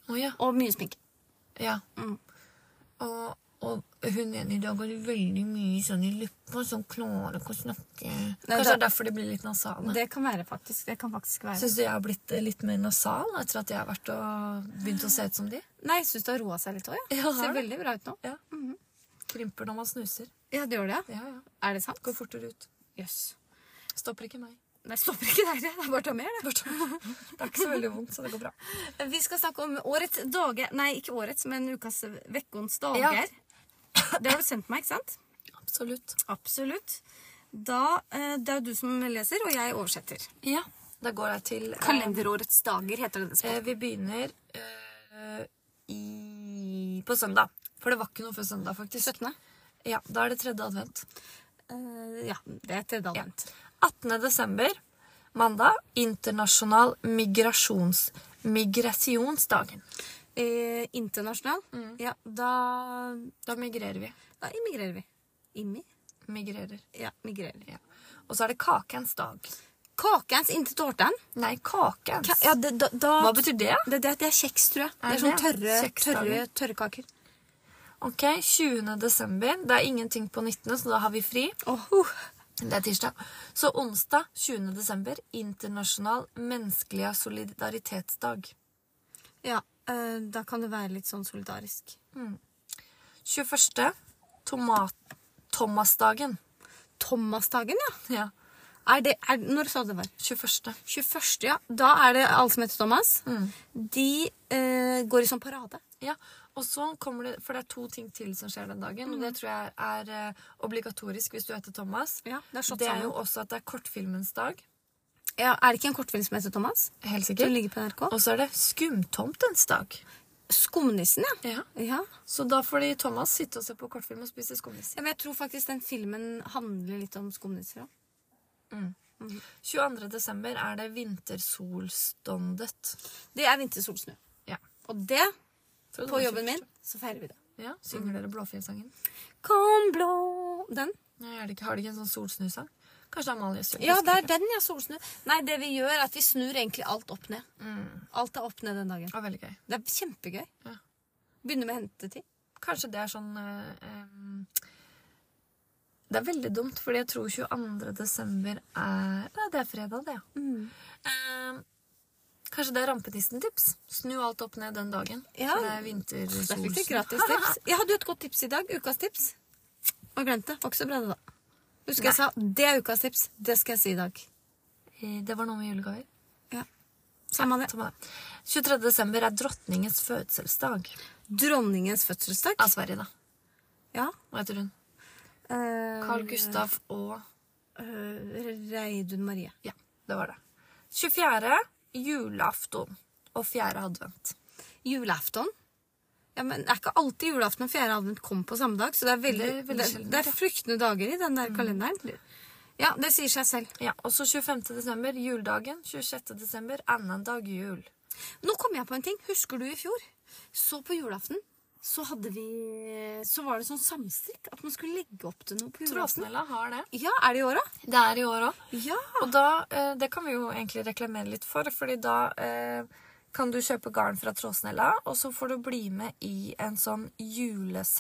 Å ja.
Og mye sminke.
ja.
Mm.
Og, og hun ene i dag har veldig mye sånn i leppa, som klarer ikke å snakke. Kanskje det er
da-
derfor de blir litt nasale.
Det kan være, faktisk. Det kan faktisk være.
Syns du jeg har blitt eh, litt mer nasal etter at jeg har vært og begynt å se ut som de?
Nei, jeg syns det har roa seg litt òg.
Ja,
Ja.
har
Ser
det.
veldig bra ut nå.
Ja. Krymper når man snuser.
Ja, det gjør det. ja.
Ja, ja.
Er det sant?
Går fortere ut.
Jøss.
Stopper ikke meg.
Nei, stopper ikke der. Det er bare å ta mer, det.
Bare tar- Det er ikke så veldig vondt, så det går bra.
Vi skal snakke om årets dage... Nei, ikke årets, men ukas vekkons dager. Det har du sendt meg, ikke sant?
Absolutt.
Absolutt. Da, eh, det er jo du som leser, og jeg oversetter.
Ja. Da går jeg til eh,
Kalenderårets dager heter denne
Eh,
spalten.
vi begynner eh, i, på søndag. For det var ikke noe før søndag, faktisk.
17.
Ja, Da er det tredje advent.
Eh, ja, det er tredje advent.
18. desember, mandag, internasjonal migrasjons... Migrasjonsdagen.
Eh, Mm. internasjonal. Ja, da,
Da migrerer vi.
da immigrerer vi. Immi?
Migrerer.
Ja, migrerer.
Ja. Og så er det kakens dag.
Kakens inntil tårten.
Nei, kakens.
Ka ja, det, da, da,
Hva betyr det?
det? Det, det er kjeks, tror jeg. Det
Er
er sånn
det?
tørre, tørre,
Kjeksdager.
tørre kaker.
Ok, 20. desember. Det er ingenting på 19., så da har vi fri.
Åh,
Det er tirsdag. Så onsdag 20. desember, internasjonal menneskelige solidaritetsdag.
Ja, eh, da kan det være litt sånn solidarisk.
21. Tomat... Thomasdagen.
Thomasdagen, ja.
Ja.
Er det, er, når sa du det var?
21.
21., ja. Mm. Da er det alle som heter Thomas. De eh, går i sånn parade.
Ja, og så kommer det, for det er to ting til som skjer den dagen,
Mhm.
og det tror jeg er eh, obligatorisk hvis du heter Thomas.
Ja, det er slått
det er
sammen.
jo også at det er kortfilmens dag,
Ja, er det ikke en kortfilm som heter Thomas?
helt
Som
sikkert.
ligger på NRK?
Og så er det skumtomtens dag.
Skumnissen, ja.
Ja.
ja.
Så da får de Thomas sitte og se på kortfilm og spise skumnisser.
Ja, men jeg tror faktisk den filmen handler litt om skumnisser òg.
22. desember er det vintersolståndet.
Det er vintersolsnø.
Ja.
Og det,
Tror du
på
det var
jobben min, Mhm.
21.?
så feirer vi det.
Ja, synger dere Blåfjellsangen?
Kom blå Den?
Nei, er det ikke, har de ikke en sånn solsnusang? Kanskje det er Amalie Sund?
Ja, det er den, ja. Solsnø. Nei, det vi gjør, er at vi snur egentlig alt opp ned. Alt er opp ned den dagen.
Ja, Mm, veldig gøy.
Det er kjempegøy.
Ja.
Begynner med hentetid.
Kanskje det er sånn eh, em, Det er veldig dumt, fordi jeg tror 22. desember er Ja, det er fredag, det, ja. Em, kanskje det er rampenissen-tips? Snu alt opp ned den dagen.
Ja.
For det er vintersolsen.
Der fikk du gratis tips. Jeg hadde jo et godt tips i dag. Ukas tips. Og jeg glemte. Var ikke så bra, det, da. Husker jeg sa det er ukas tips. Det skal jeg si i dag.
<laughs> Eh, Det var noe med julegaver.
Ja. Samme det.
Ta med det. 23. desember er dronningens fødselsdag.
Dronningens fødselsdag.
Av Sverige, da.
Ja.
Hva heter hun?
Eh,
Carl Gustaf og
eh, Reidun Marie.
Ja, det var det. 24. julafton og 4. advent.
Julaften. Ja, men det er ikke alltid julaften og fjerde advent kommer på samme dag, så det er veldig,
Det
det
er
er,
veldig Mm. sjeldent,
det er fryktende dager i den der kalenderen. Ja, det sier seg selv.
Ja, og så 25. desember, juledagen. 26. desember, annendag jul.
Nå kom jeg på en ting. Husker du i fjor? Så på julaften så hadde vi Så var det sånn samstrikk at man skulle legge opp til noe på julaften.
Tråsnella har det.
Ja, er det i år òg?
Det er i år òg.
Ja.
Og da, eh, det kan vi jo egentlig reklamere litt for, fordi da eh, kan du kjøpe garn fra Tråsnella, og så får du bli med i en sånn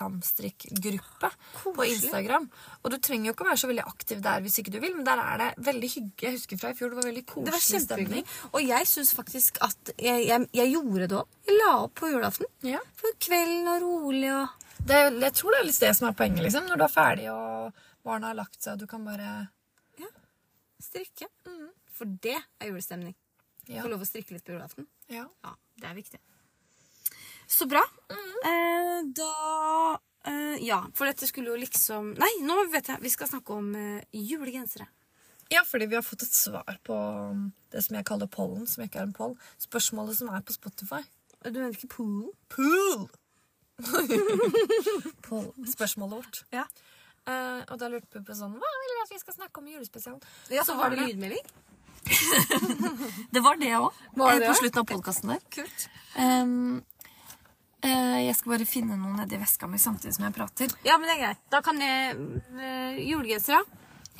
julesamstrikkgruppe på
Koselig.
Instagram. Og du trenger jo ikke å være så veldig aktiv der hvis ikke du vil, men der er det veldig hygge. Jeg husker fra i fjor, det var veldig
Det var
koselig
kjempehyggelig.
stemning.
Og jeg syns faktisk at jeg, jeg, jeg gjorde det òg. Jeg la opp på julaften.
Ja.
For kvelden og rolig og
Det, er- jeg tror det er litt det som er poenget, liksom. Når du er ferdig og barna har lagt seg, og du kan bare
strikke. mm. For det er julestemning.
Ja.
Få lov å strikke litt på julaften.
ja.
Ja, det er viktig. Så bra. Eh, da eh, Ja, for dette skulle jo liksom Nei, nå vet jeg. Vi skal snakke om eh, julegensere.
Ja, fordi vi har fått et svar på um, det som jeg kaller pollen, som ikke er en poll. Spørsmålet som er på Spotify.
Du mener ikke poolen?
Pool! poll. Spørsmålet vårt.
Ja.
Eh, og da lurte vi på sånn Hva vil du at vi skal snakke om i julespesialen?
så var det lydmelding?
Det var det òg.
Var det
På
det?
slutten av podkasten der.
Kult.
Ehm, eh, jeg skal bare finne noe nedi veska mi samtidig som jeg prater.
Ja, men det er greit. Da kan jeg uh, Julegensere.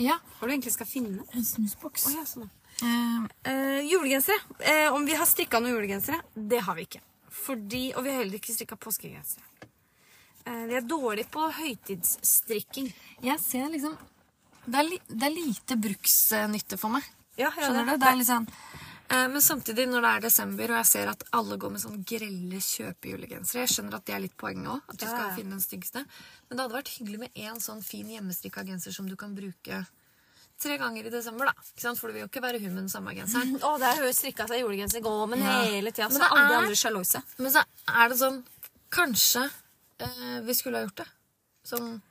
Ja.
Hva du egentlig skal finne?
En snusboks.
Å, ja, sånn.
Ehm,
Eh, julegensere. Eh, om vi har strikka noen julegensere? Det har vi ikke. Fordi, og vi har heller ikke strikka påskegensere. Eh, vi er dårlige på høytidsstrikking.
jeg ser liksom Det er, li, det er lite bruksnytte for meg.
Ja,
Skjønner du? Det er litt sånn eh, men samtidig, når det er desember, og jeg ser at alle går med sånn grelle kjøpejulegensere Jeg skjønner at det er litt poenget òg, at du skal
Ja.
finne den styggeste. Men det hadde vært hyggelig med én sånn fin hjemmestrikka genser som du kan bruke tre ganger i desember, da. Ikke sant? For du vil jo ikke være hun med den samme genseren.
<laughs> Å, der har hun strikka seg julegenser i går, men
Ja.
hele tida.
Men
Så
det
er alle de
er-
andre sjaluise.
Men så er det sånn Kanskje eh, vi skulle ha gjort det. Sånn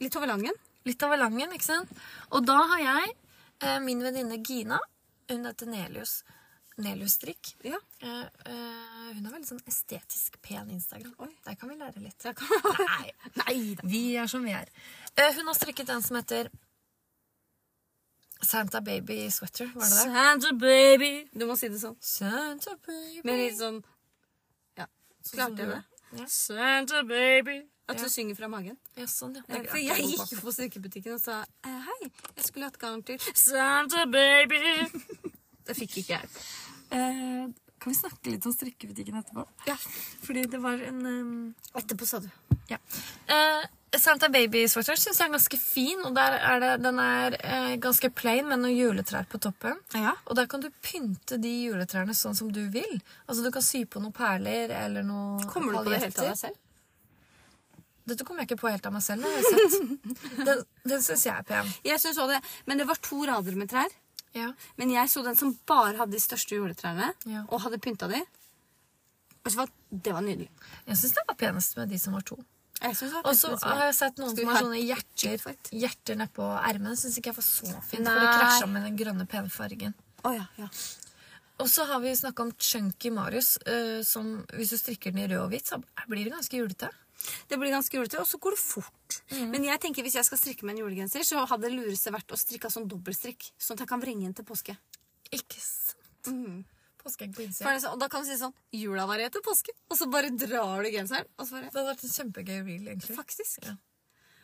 Litt over langen.
Litt over langen, ikke sant? Og da har jeg eh, min venninne Gina. Hun heter Nelius. Nelius Strikk.
Ja.
Eh, eh, hun har veldig sånn estetisk pen Instagram.
Oi.
Der kan vi lære litt.
Der kan-
Nei,
Nei da.
vi er som vi er. Eh, hun har strikket en som heter Santa Baby Sweater. Var det det?
Santa baby. Du må si det sånn.
Santa Baby
Med litt sånn Ja.
Sånn som
Klarte
du
jeg
gjør.
det?
Ja.
Santa baby. At
Ja.
du synger fra magen.
Ja, sånn, ja. Det
Jeg,
er
for
ikke
jeg
jeg
gikk
god
jo
på.
på strikkebutikken og sa «Eh, hei, jeg skulle hatt garn til Santa baby. Det fikk ikke jeg.
Eh, kan vi snakke litt om strikkebutikken etterpå?
Ja.
Fordi det var en ehm,
Etterpå sa du.
Ja. Eh, Santa Baby-sweater syns jeg er ganske fin. og der er det, Den er eh, ganske plain med noen juletrær på toppen.
Ja.
Og der kan du pynte de juletrærne sånn som du vil. Altså Du kan sy på noen perler eller noe
Kommer du på det helt av
paljetter.
deg selv?
Dette kommer jeg ikke på helt av meg selv. det Har jeg
<laughs>
sett. Den, den syns jeg er pen.
Jeg synes også det, Men det var to rader med trær.
Ja.
Men jeg så den som bare hadde de største juletrærne,
Ja.
og hadde pynta de. Vet du hva? Det var nydelig.
Jeg syns den var penest med de som var to.
Jeg synes det var
Og så
pent, men
har jeg sett noen
Skal vi
som har
ha
sånne hjerter,
fight?
hjerter nedpå ermene. Syns ikke jeg var så fint, for det
Nei.
krasja med den grønne penfargen.
eh, Å ja, ja.
Og så har vi snakka om Chunky Marius, eh, som hvis du strikker den i rød og hvitt, så blir det ganske julete.
Det blir ganske julete, og så går det fort. Men jeg tenker hvis jeg skal strikke med en julegenser, så hadde det lureste vært å strikke av sånn dobbeltstrikk. Sånn at jeg kan vrenge den til påske.
Ikke sant?
Mm.
Påskeegg på
For det
innsida.
er sånn- og da kan du si sånn Jula varer etter påske. Og så bare drar du genseren. Og så bare
Det hadde vært en kjempegøy reel, egentlig.
Faktisk.
Ja.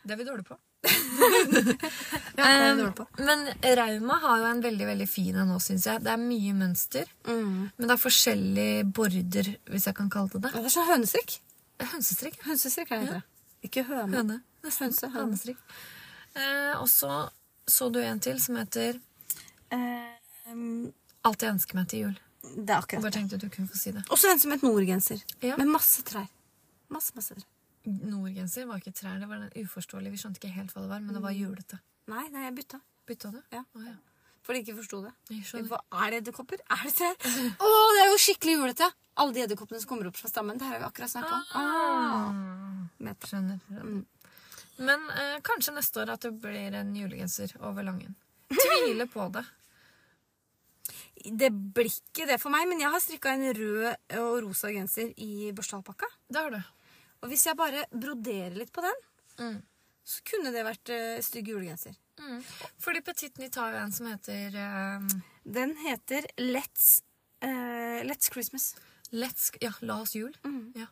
Det er vi dårlige på.
Ja, det er
Eh,
vi dårlig på.
men Rauma har jo en veldig veldig fin en nå, syns jeg. Det er mye mønster. Men det er forskjellig border, hvis jeg kan kalle det det.
Ja, det er sånn hønestrikk.
Hønsestrikk.
Hønsestrikk er det. heter. Ikke høne.
Høne.
Hønse, høne.
Hanestrikk. Eh, og så så du en til som heter
Eh, um,
Alt jeg ønsker meg til jul.
det er
Og
akkurat
bare tenkte at du kunne få si det.
Også en som het nordgenser.
Ja.
Med masse trær. Masse, masse trær.
Nordgenser var ikke trær, det var den uforståelige. Vi skjønte ikke helt hva det var, men det var julete.
Nei, nei, jeg bytta.
Bytta du?
Mm. Ja.
Å, ja.
Fordi jeg ikke forsto det.
Jeg skjønner.
Hva er det edderkopper? Er det trær? Å, det er jo skikkelig julete! Alle de edderkoppene som kommer opp fra stammen. Det har vi akkurat snakka
Ah.
om.
Mm,
Ah.
skjønner. Men eh, kanskje neste år at det blir en julegenser over Langen. Tviler på det.
Det blir ikke det for meg, men jeg har strikka en rød og rosa genser i børstealpakka.
Det har du.
Og hvis jeg bare broderer litt på den,
Mm.
så kunne det vært eh, stygg julegenser.
Mm. Fordi Petit Nit har jo en som heter eh,
Den heter Let's, eh, Let's Christmas.
Let's Ja, La oss jul.
Mm.
Ja.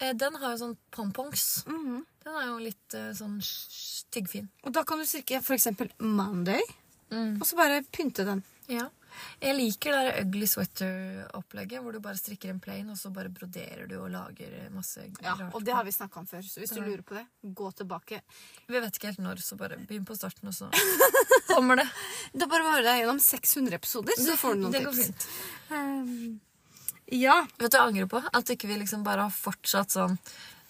Eh, den har jo sånn pompongs. Den er jo litt eh, sånn sj- sj- tyggfin.
Mhm. Og da kan du strikke for eksempel Monday, og så bare pynte den.
Ja. Jeg liker det der ugly sweater-opplegget, hvor du bare strikker en plain, og så bare broderer du og lager masse
Ja,
rart.
Og det har vi snakka om før, så hvis du lurer på det, gå tilbake.
Vi vet ikke helt når, så bare begynn på starten,
<laughs>
og så kommer det.
Da bare høre deg gjennom 600 episoder, så får du noen
det går
tips.
fint.
Eh, ja.
Vet du, jeg angrer på at ikke vi liksom bare har fortsatt sånn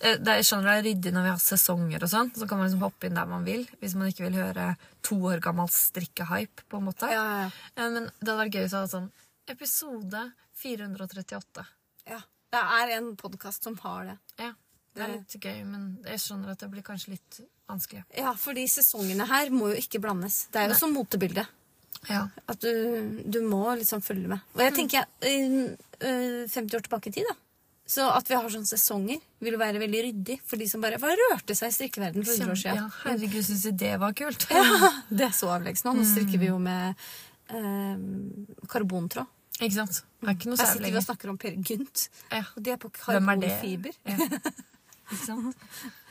eh, det er, jeg skjønner det er ryddig når vi har sesonger og sånn, så kan man liksom hoppe inn der man vil, hvis man ikke vil høre to år gammel strikkehype, på en måte.
Ja, ja,
Eh, Men det hadde vært gøy hvis det hadde sånn episode 438.
ja. Det er en podkast som har det.
Ja, det er
Det-
litt gøy, men jeg skjønner at det blir kanskje litt vanskelig.
Ja, fordi sesongene her må jo ikke blandes. Det er jo som motebildet.
Ja.
At du, du må liksom følge med. Og jeg tenker eh, eh, 50 år tilbake i tid, da. Så at vi har sånne sesonger, vil jo være veldig ryddig for de som bare Hva rørte seg i strikkeverden for 100 år
ja
siden?
herregud, syns jeg det var kult.
<laughs> Det er så avleggs nå. Nå strikker vi jo med eh, karbontråd.
<laughs> Ikke sant? Det er ikke noe
Her
særlig
sitter vi og
lenger.
snakker om Per Gynt,
Ja.
og de er på
Hvem er det?
karbonfiber. <laughs>
Ja. Ikke sant?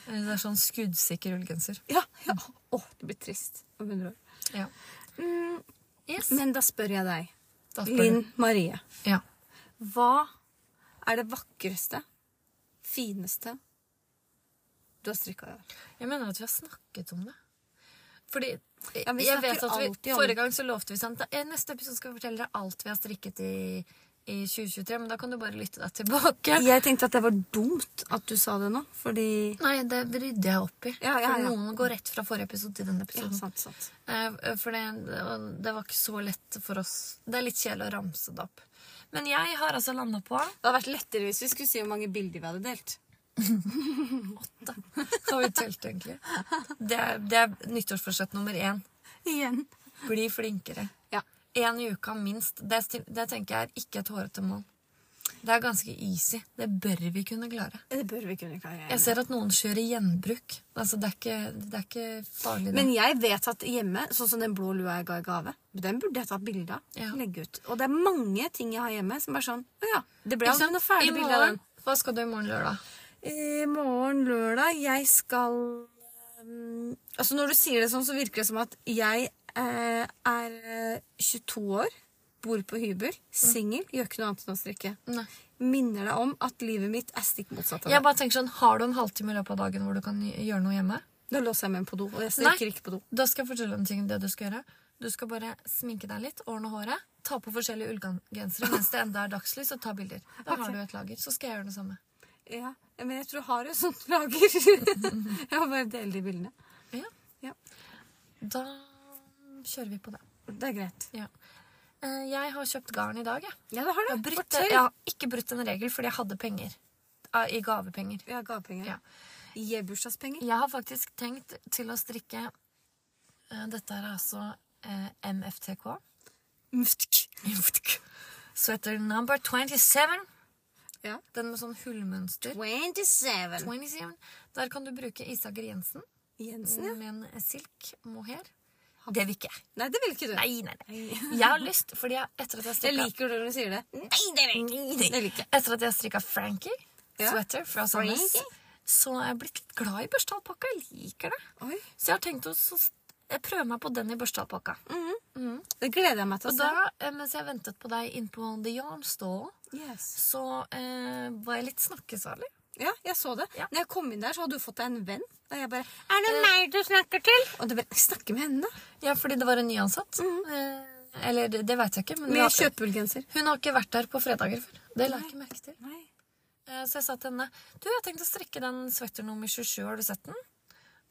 Det er sånn skuddsikker ullgenser.
Ja, ja. Åh, det blir trist om 100 år.
Ja. Yes.
Mm. Men da spør jeg deg,
Da spør
Linn
du.
Marie,
Ja.
hva er det vakreste, fineste du har strikka i år?
Jeg mener at vi har snakket om det. Fordi
Ja, vi
jeg
snakker
vet at vi,
alltid om-
Forrige gang så lovte vi sånn at i neste episode skal vi fortelle deg alt vi har strikket i, i 2023. Men da kan du bare lytte deg tilbake.
Jeg tenkte at det var dumt at du sa det nå, fordi
<laughs> Nei, det rydder jeg opp i.
Ja, ja,
For
ja.
noen går rett fra forrige episode til denne
ja,
episoden.
sant, sant.
Eh, For det, og det var ikke så lett for oss. Det er litt kjedelig å ramse det opp. Men jeg har altså landa på
Det hadde vært lettere hvis vi skulle si hvor mange bilder vi hadde delt.
Har vi telt, egentlig? Det er, det er nyttårsforsett nummer én.
Igjen.
Bli flinkere.
Ja.
Én i uka minst. Det, sti- det tenker jeg er ikke et hårete mål. Det er ganske easy. Det bør vi kunne klare.
Det bør vi kunne klare.
Jeg ser at noen kjører gjenbruk. Altså, det er ikke, det er ikke farlig. det.
Men jeg vet at hjemme, sånn som den blå lua jeg ga i gave, den burde jeg tatt bilde av.
Ja.
Legge ut. Og det er mange ting jeg har hjemme som er sånn Å ja, det ble
Ikke
aldri
sant?
noe ferdig
I
bilde av den.
morgen- Hva skal du i morgen lørdag?
i morgen lørdag Jeg skal mm, Altså Når du sier det sånn, så virker det som at jeg eh, er eh, 22 år, bor på hybel, singel, gjør ikke noe annet enn å strikke.
Nei.
Minner deg om at livet mitt er stikk motsatt av
Jeg
det.
bare tenker sånn, Har du en halvtime i løpet av dagen hvor du kan gjøre noe hjemme?
Da låser jeg meg inn på do, og jeg strikker ikke på do.
Da skal jeg fortelle deg en ting om det du skal gjøre. Du skal bare sminke deg litt, ordne håret, ta på forskjellige ullgensere mens det enda er dagslys, og ta bilder. Da har du et lager. Så skal jeg gjøre det samme.
Ja, men jeg tror jeg har et sånt <laughs> lager. jeg må bare dele de bildene.
Ja.
Ja,
Da kjører vi på det.
Det er greit.
Ja. Eh, Jeg har kjøpt garn i dag, jeg.
Ja, det har
Jeg
du.
har, brutt,
Fortell.
jeg har ikke brutt en regel fordi jeg hadde penger. Ah, I gavepenger.
Ja, gavepenger.
Ja.
Gi bursdagspenger.
Jeg har faktisk tenkt til å strikke eh, Dette her er altså eh, MFTK.
Muftk.
Så heter den number 27.
Ja.
Den med sånn hullmønster.
27.
27. Der kan du bruke Isager Jensen
Jensen, ja.
med en silk mohair. Det vil ikke jeg.
Nei, det vil ikke du.
Nei, nei, nei. Jeg har lyst, fordi jeg, etter at jeg
Jeg
strikka
liker når du sier det. Nei, det vil jeg ikke. Det vil jeg ikke.
Etter at jeg strikka Frankie
Ja.
sweater fra Sandnes,
Frankie?
så er jeg blitt litt glad i børstealpakka. Jeg liker det.
Oi,
Så jeg har tenkt å s- prøve meg på den i børstealpakka.
Mhm. det gleder jeg meg til å
Og
se.
da, eh, mens jeg ventet på deg innpå The Yarn Store,
Yes.
så eh, var jeg litt snakkesalig.
Ja, jeg så det.
Ja.
Når jeg kom inn der, så hadde du fått deg en venn. Og jeg bare, er det meg du snakker til? Og du bare, snakke med henne da.
Ja, fordi det var en nyansatt. eh, eller det, det veit jeg ikke. Men
Mhm. Med
det var-
kjøpeulgenser.
hun har ikke vært der på fredager før. Det la jeg ikke merke til.
Nei.
Eh, Så jeg sa til henne Du, jeg har tenkt å strikke den sweater nummer 27, har du sett den?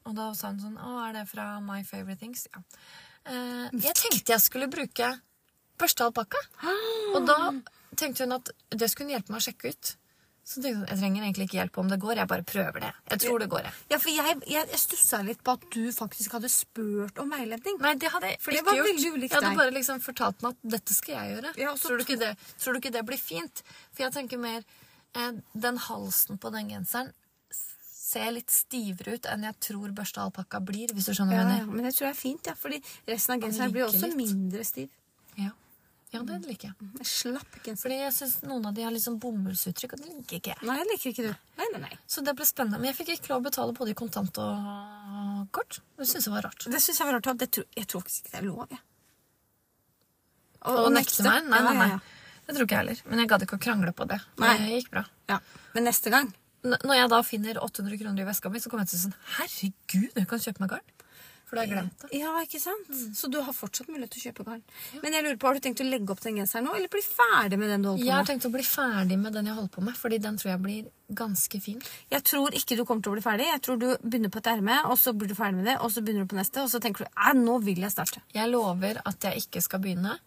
Og da sa hun sånn Å, er det fra My Favorite Things? Ja. Eh, jeg tenkte jeg skulle bruke børsta alpakka. Og da tenkte hun at det skulle hun hjelpe meg å sjekke ut. Så tenkte hun, jeg trenger egentlig ikke hjelp om det går, jeg bare prøver det. Jeg tror det går, jeg.
Ja, for jeg, jeg, jeg stussa litt på at du faktisk hadde spurt om veiledning.
Nei, det hadde jeg
For det
ikke
var
gjort.
veldig ulikt
jeg hadde
deg.
bare liksom fortalt meg at dette skal jeg gjøre.
Ja, og så
tror, du ikke det, tror du ikke det blir fint? For jeg tenker mer eh, Den halsen på den genseren ser litt stivere ut enn jeg tror børsta alpakka blir, hvis du skjønner
Ja, ja,
hva jeg mener.
men det tror jeg er fint, ja, fordi resten av
liker
genseren blir også
litt.
mindre stiv.
Ja. ja, det liker jeg.
En Slapp genser.
Fordi jeg syns noen av de har litt sånn bomullsuttrykk, og det liker ikke jeg.
Nei, jeg liker ikke du. Nei, nei, nei.
Så det ble spennende. Men jeg fikk ikke lov å betale både i kontant og kort. Det syns jeg var rart.
Det syns jeg var rart. at Det tror, jeg tror faktisk ikke det er lov. Jeg.
Å nekte meg? Nei,
Ja,
nei,
ja,
nei. Det tror ikke jeg heller. Men jeg gadd ikke å krangle på det.
Nei.
Det gikk bra.
ja. ja. Men neste gang
N- Når jeg da finner 800 kroner i veska mi, så kommer jeg til å si sånn Herregud, jeg kan kjøpe meg garn. For da har jeg glemt det.
Ja, ikke sant? Så du har fortsatt mulighet til å kjøpe garn. Men jeg lurer på, har du tenkt å legge opp den genseren nå, eller bli ferdig med den du
Jeg har
holder på med?
tenkt å bli ferdig med den jeg holder på med, fordi den tror jeg blir ganske fin.
Jeg tror ikke du kommer til å bli ferdig. Jeg tror du begynner på et erme, og så blir du ferdig med det, og så begynner du på neste, og så tenker du Æ, nå vil jeg starte.
Jeg lover at jeg ikke skal begynne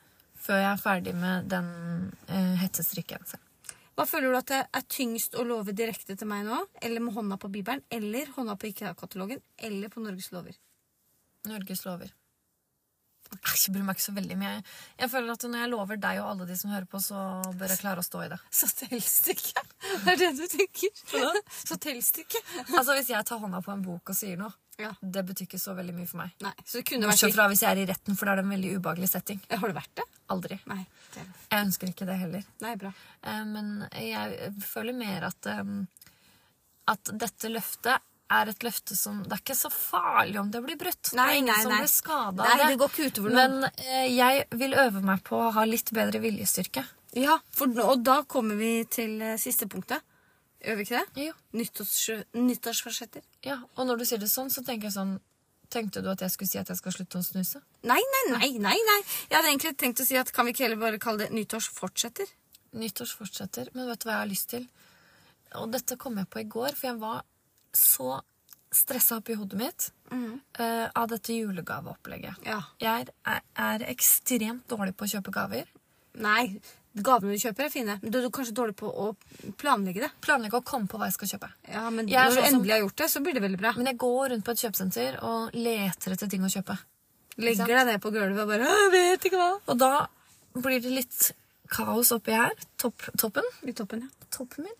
før jeg er ferdig med den eh, hettestrikkegenseren.
Hva føler du at det er tyngst å love direkte til meg nå? Eller med hånda på Bibelen? Eller hånda på IKEA-katalogen? Eller på Norges lover?
Norges lover. Æsj, Jeg bryr meg ikke så veldig mye. Jeg føler at når jeg lover deg og alle de som hører på, så bør jeg klare å stå i det.
Så tellstykke. <laughs> Det er det du tenker. Så tellstykke.
Altså, Hvis jeg tar hånda på en bok og sier noe,
Ja.
det betyr ikke så veldig mye for meg.
Nei, så det kunne vært
Bortsett fra hvis jeg er i retten, for da er det en veldig ubehagelig setting.
Ja, Har du vært det?
Aldri.
Nei. Det...
Jeg ønsker ikke det heller.
Nei, bra.
Eh, Men jeg føler mer at, eh, at dette løftet er et løfte som Det er ikke så farlig om det blir brutt. det
Nei,
er ingen
nei,
som
nei.
blir skada
Nei,
av det.
det går ikke utover noen.
Men eh, jeg vil øve meg på å ha litt bedre viljestyrke.
Ja, for, nå- og da kommer vi til eh, siste punktet. Gjør vi ikke det?
Jo.
Nyttårs, nyttårsforsetter.
Ja, Og når du sier det sånn, så tenker jeg sånn Tenkte du at jeg skulle si at jeg skal slutte å snuse?
Nei, nei, nei, nei, nei. Jeg hadde egentlig tenkt å si at kan vi ikke heller bare kalle det nyttårsfortsetter?
Nyttårs fortsetter, men vet du hva jeg har lyst til? Og dette kom jeg på i går, for jeg var så stressa opp i hodet mitt eh, av dette julegaveopplegget.
Ja.
Jeg er, er, er ekstremt dårlig på å kjøpe gaver.
Nei, gavene du kjøper er fine, men du er kanskje dårlig på å planlegge det.
Planlegger å komme på hva jeg skal kjøpe.
Ja, men
Jeg er
når du
sånn som-
endelig har gjort det, så blir det veldig bra.
Men jeg går rundt på et kjøpesenter og leter etter ting å kjøpe.
Legger deg ned på gulvet og bare «Åh, jeg vet ikke hva.
Og da blir det litt kaos oppi her. Topp, toppen.
I toppen, ja.
Toppen min.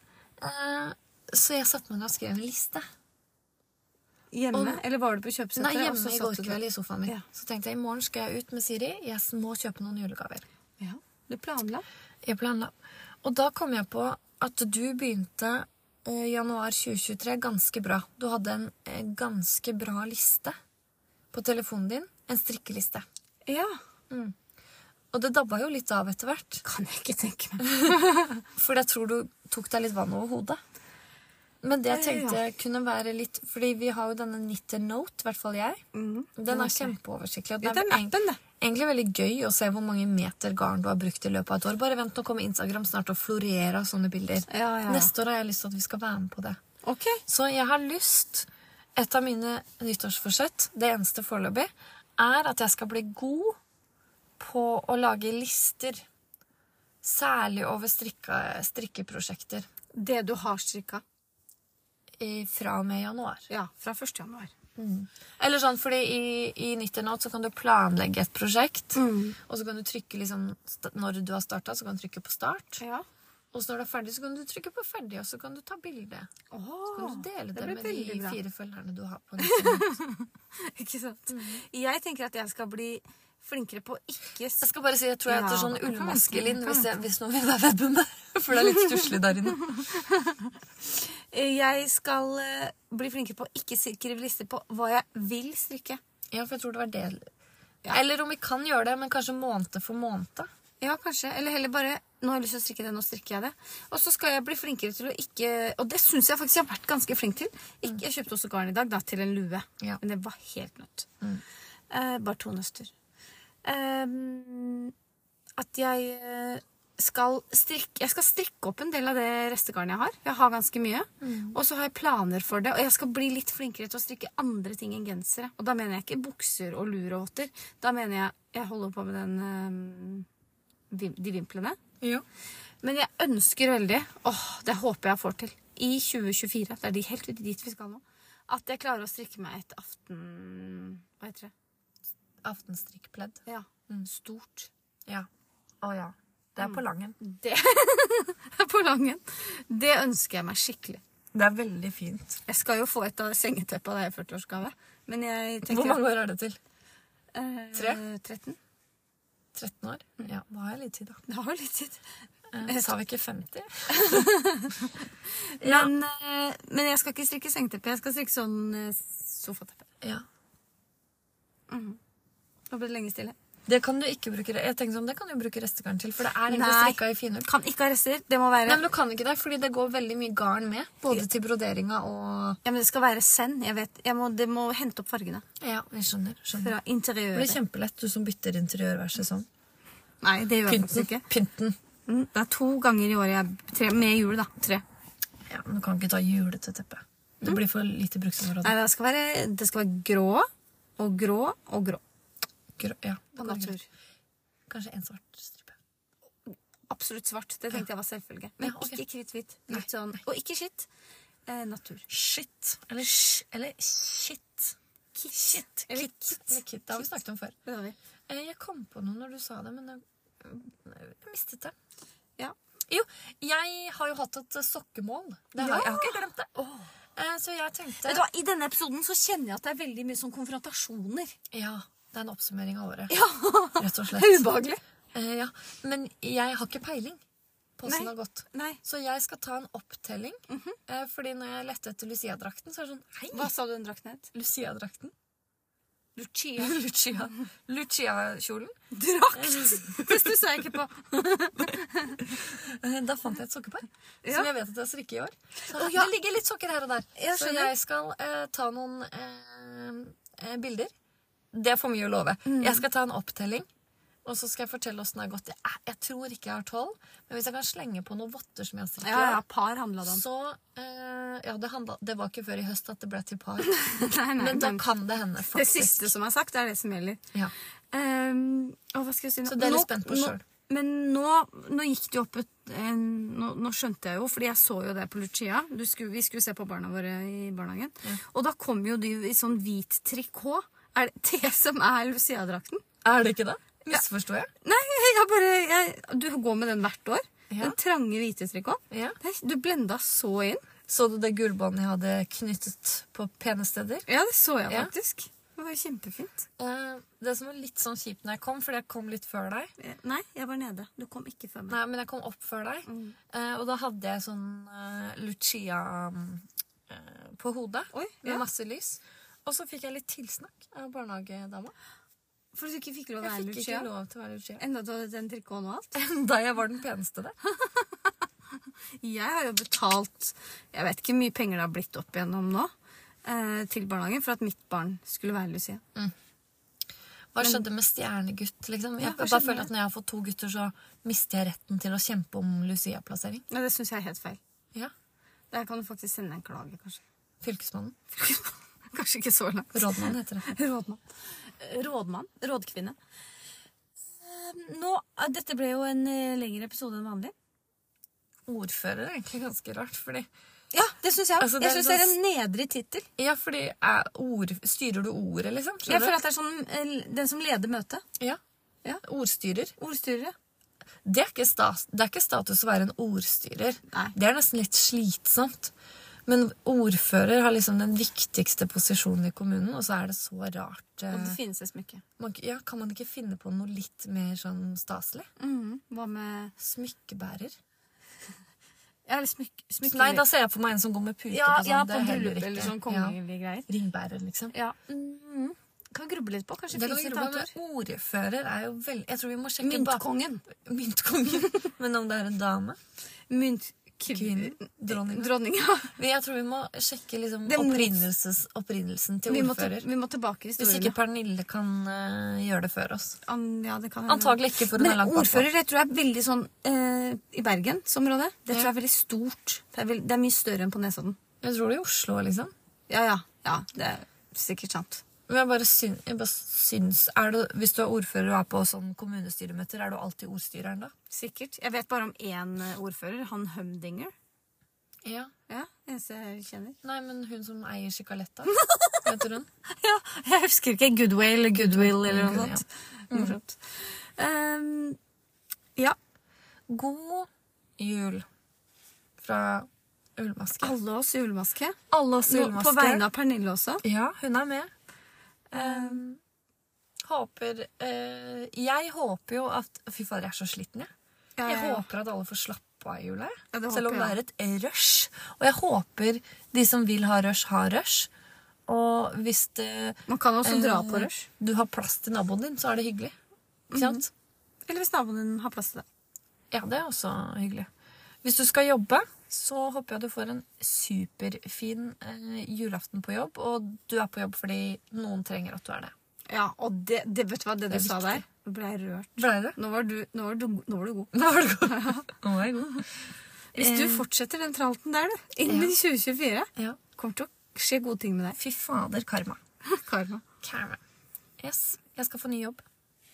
Eh, så jeg satte meg ned og skrev en liste.
Hjemme, eller var du på
Nei,
kjøpesenteret? og så
hjemme i
satt
går
du der?
kveld i sofaen min.
Ja.
Så tenkte jeg i morgen skal jeg ut med Siri. Jeg må kjøpe noen julegaver.
Ja, du planla.
Jeg planla. Og da kom jeg på at du begynte eh, januar 2023 ganske bra. Du hadde en eh, ganske bra liste på telefonen din. En strikkeliste.
Ja.
Og det dabba jo litt av etter hvert.
Kan jeg ikke tenke <laughs> meg.
For jeg tror du tok deg litt vann over hodet. Men det jeg tenkte kunne være litt Fordi vi har jo denne Knitter Note, i hvert fall jeg. Den er kjempeoversiktlig. og
Ja, den
eng-
appen, det.
egentlig veldig gøy å se hvor mange meter garn du har brukt i løpet av et år. Bare vent, nå kommer Instagram snart og florerer av sånne bilder.
Ja, ja, ja.
Neste år har jeg lyst til at vi skal være med på det.
Ok.
Så jeg har lyst Et av mine nyttårsforsett, det eneste foreløpig, er at jeg skal bli god på å lage lister. Særlig over strikka, strikkeprosjekter
Det du har strikka.
i, fra og med januar.
Ja, fra 1. januar.
Eller sånn, fordi i, i Nytternot så kan du planlegge et prosjekt, og så kan du trykke liksom, st- når du har starta, så kan du trykke på start.
Ja.
Og så når du er ferdig, så kan du trykke på ferdig, og så kan du ta bilde. Så kan du dele det,
det ble
med de
veldig bra.
fire følgerne du har på Nytternot.
<laughs> Ikke sant?
Mhm.
Jeg tenker at jeg skal bli flinkere på å ikke
Jeg skal bare si, jeg tror jeg
Ja,
heter sånn
det kan vente,
ullmaskelin
det kan
hvis, jeg- hvis noen vil være vedbund der. <laughs> For det er litt stusslig der inne.
Jeg skal eh, bli flinkere på å ikke skrive lister på hva jeg vil strikke.
Ja, for jeg tror det var det.
Ja.
Eller om vi kan gjøre det, men kanskje måned for måned.
Ja, kanskje. Eller heller bare Nå har jeg lyst til å strikke det, nå strikker jeg det. Og så skal jeg bli flinkere til å ikke Og det syns jeg faktisk jeg har vært ganske flink til. Ikke, jeg kjøpte også garn i dag, da, til en lue.
Ja.
Men det var helt nødt. Eh, bare to nøster. Ehm, at jeg eh, skal strikke Jeg skal strikke opp en del av det restegarnet jeg har. Jeg har ganske mye. Og så har jeg planer for det. Og jeg skal bli litt flinkere til å strikke andre ting enn gensere. Og da mener jeg ikke bukser og lur og votter. Da mener jeg jeg holder på med den ehm, vim- de vimplene.
Ja.
Men jeg ønsker veldig, åh, det håper jeg får til, i 2024, det er de helt dit vi skal nå, at jeg klarer å strikke meg et aften... Hva heter det?
Aftenstrikkpledd. Mm.
Ja, stort.
Ja. Mm. Å ja. Det er på langen.
Det <laughs> på langen. Det ønsker jeg meg skikkelig.
Det er veldig fint.
Jeg skal jo få et av sengeteppet av deg i 40-årsgave, men jeg tenker...
Hvor mange år er det til?
Eh,
Tre?
13.
13 år? Ja, da har jeg litt tid, da.
Det har jo litt tid.
Eh, Sa vi ikke 50?
Men, eh, men jeg skal ikke strikke sengeteppe, jeg skal strikke sånn eh, sofateppe.
Ja.
Nå ble det lenge stille.
Det kan du ikke bruke. Jeg tenkte sånn, det kan du bruke restegarn til, for det er egentlig
Nei.
strikka i finull.
Kan ikke ha rester, det må være...
Nei, men du kan ikke det, fordi det går veldig mye garn med. Både til broderinga og
Ja, men det skal være send. Jeg vet. Jeg må, det må hente opp fargene
Ja, jeg skjønner. skjønner.
fra
Det blir
interiøret.
kjempelett, du som bytter interiør hver sesong.
Nei, det gjør jeg faktisk ikke.
Pynten.
Mm, Det er to ganger i året jeg tre, Med jul, da. Tre.
Ja, men Du kan ikke ta julete teppe. Det blir for lite bruksområde.
Nei, det skal være, det skal være grå og grå og grå.
Grå- Ja, det
Og
går greit.
natur.
Kanskje en svart stripe.
Absolutt svart. Det tenkte jeg var selvfølge. Men
Ja, ok.
ikke kritthvit. Litt Sånn. Og ikke skitt. Eh, natur.
Shit. Eller sh... Eller shit. Kit. Shit.
Eller
Kit. Eller kit. Det har vi snakket om før.
Det har vi.
Eh, Jeg kom på noe når du sa det, men jeg, jeg mistet det.
Ja.
Jo, jeg har jo hatt et eh, sokkemål. Det har,
Ja.
Jeg har ikke glemt det. Eh, Så jeg tenkte
Vet du hva, I denne episoden så kjenner jeg at det er veldig mye sånn
<laughs>
konfrontasjoner.
Ja, det er en oppsummering av året. Ja. Rett
<laughs>
og slett.
Ubehagelig.
Eh, ja. Men jeg har ikke peiling på åssen
Nei.
det har gått.
Nei.
Så jeg skal ta en opptelling. eh, fordi når jeg lette etter Lucia-drakten, så er det sånn Hei!
Hva sa du den drakten het?
Lucia-drakten? <laughs>
Lucia.
Lucia. Lucia-kjolen. <laughs>
Drakt! Det stussa jeg ikke på.
Eh, Da fant jeg et sokkepar
Ja.
som jeg vet at jeg strikker i år. Så
Å, ja.
Det ligger litt sokker her og der.
Jeg
så
skjønner.
jeg skal eh, ta noen eh, eh, bilder. Det er for mye å love.
Mm.
Jeg skal ta en opptelling, og så skal jeg fortelle åssen det har gått. Jeg, er- jeg tror ikke jeg har tolv, men hvis jeg kan slenge på noen votter som jeg har strikket
Ja, ja. Par handla det om.
Så eh, Ja, det, handla, det var ikke før i høst at det ble til
<laughs>
par.
<laughs> Nei, nei,
Men da
men-
kan det hende,
Det
faktisk.
siste som er sagt, er det som gjelder.
Ja.
Ehm, og hva skal jeg si nå?
Så det er jeg litt
Nå-
spent på
nå-
selv.
Men nå, nå gikk det jo opp et en, nå, nå skjønte jeg jo, fordi jeg så jo det på Lucia. Du skulle, vi skulle se på barna våre i barnehagen. Og da kom jo du i sånn hvit trikot. Er det det som er Lucia-drakten?
Er det ikke det? Misforsto jeg?
Nei, jeg bare jeg, Du går med den hvert år.
Ja.
Den trange hvite trikoten.
Ja.
Nei, Du blenda så inn.
Så du det gullbåndet jeg hadde knyttet på pene steder?
Ja, det så jeg
Ja.
faktisk. Det Det var jo kjempefint.
Eh, det som var litt sånn kjipt når jeg kom, fordi jeg kom litt før deg
Eh, Nei, jeg var nede. Du kom ikke før meg.
Nei, men jeg kom opp før deg.
Mm.
Eh, og da hadde jeg sånn eh, Lucia mm, eh, på hodet
Oi,
med
ja.
masse lys. Og så fikk jeg litt tilsnakk av barnehagedama.
For du ikke fikk lov å
Jeg
være
fikk ikke
Lucia.
lov til å være Lucia. <laughs>
Enda du hadde den trikoten og alt.
Da jeg var den peneste der.
Jeg har jo betalt Jeg vet ikke hvor mye penger det har blitt opp igjennom nå eh, til barnehagen for at mitt barn skulle være Lucia.
Hva skjedde med stjernegutt? liksom?
Ja,
Jeg, jeg
hva
bare
skjedde
føler
med-
at Når jeg har fått to gutter, så mister jeg retten til å kjempe om Lucia-plassering.
Nei, det syns jeg er helt feil.
Ja,
Der kan du faktisk sende en klage, kanskje. <laughs>
Fylkesmannen.
Kanskje ikke så langt.
Rådmannen heter det.
Rådmann. Rådmann. Rådkvinne. Eh, Nå, eh, dette ble jo en eh, lengre episode enn vanlig.
Ordfører er egentlig ganske rart, fordi
Ja, det syns jeg.
Altså, det
jeg
er
syns
sånn
det er en nedrig tittel.
Ja, fordi er ord, Styrer du ordet, liksom? Skjønner
Jeg
du?
føler at det er sånn eh, den som leder møtet.
Ja.
Ja.
Ordstyrer.
Ordstyrer.
Det er, ikke stas, det er ikke status å være en ordstyrer.
Nei.
Det er nesten litt slitsomt. Men ordfører har liksom den viktigste posisjonen i kommunen, og så er det så rart.
Og det
eh,
finnes et smykke.
Man, ja, kan man ikke finne på noe litt mer sånn staselig?
Mhm. Hva med
Smykkebærer?
Ja, eller smykke... smykke
Nei, da ser jeg på meg en som går med pute
ja,
på sånn.
ja,
det
på
er heller
bryllup
ikke-
eller sånn
Ja.
kongelige greier.
Ringbærer, liksom.
Ja. Mhm. Kan vi gruble litt på. Kanskje
Det kan
finnes
vi
et
jobbe
annet
med.
ord.
Ordfører er jo veldig Jeg tror vi må sjekke bak-
Myntkongen.
Myntkongen. Men om det er en dame?
Myntkvinnen.
Kvinnen? Dronningen?
Dronninga.
Men jeg tror vi må sjekke liksom
Det må-
opprinnelses, opprinnelsen
<laughs>
til
Vi må, til-
ordfører.
vi må tilbake i
Hvis
historiene.
ikke Pernille kan eh, gjøre det før oss.
An, ja, det kan hende.
Antagelig ikke, for hun er
Men
langt bakpå.
ordfører jeg tror er veldig sånn eh, I Bergensområdet. Det tror jeg er veldig stort. Det er, veld, det er mye større enn på Nesodden.
Jeg tror det er i Oslo, liksom.
Ja, ja. ja det er sikkert sant.
Men jeg bare, syn, jeg bare syns er du, Hvis du er ordfører og er på sånn kommunestyremøter, er du alltid ordstyreren da?
Sikkert. Jeg vet bare om én eh, ordfører. Han Humdinger.
Ja.
Ja, eneste jeg kjenner.
Nei, men hun som eier <laughs> Chikaletta, heter hun?
<laughs> Ja, jeg husker ikke. Goodwill eller Goodwill eller noe
Good, ja.
sånt. Morsomt. Ehm, ja.
God jul fra Ullmaske.
Alle oss julemaske.
Alle oss
Nå, på vegne av Pernille også.
Ja, hun er med. Ehm, håper eh, Jeg håper jo at Fy fader, jeg er så sliten, jeg.
Ja,
Jeg
ja, ja.
håper at alle får slappe av i jula. jeg.
Ja, det
Selv om
håper
det er et rush. Og jeg håper de som vil ha rush, har rush. Og hvis det,
Man kan også dra
eh,
på rush. Mhm.
du har plass til naboen din, så er det hyggelig. Ikke sant?
Eller hvis naboen din har plass til det.
Ja, det er også hyggelig. Hvis du skal jobbe, så håper jeg du får en superfin eh, julaften på jobb. Og du er på jobb fordi noen trenger at du er det.
Ja, og det, det vet du hva, det du
Det er
sa
viktig.
der, nå ble jeg rørt.
Blei det?
Nå var, du, nå, var du, nå var du god.
Nå var
<laughs>
det god. Nå var jeg god.
Hvis du fortsetter den tralten der, du, inn i 2024,
Ja.
kommer til å skje gode ting med deg.
Fy fader, karma.
<laughs> Karma.
Karma. Yes. Jeg skal få ny jobb.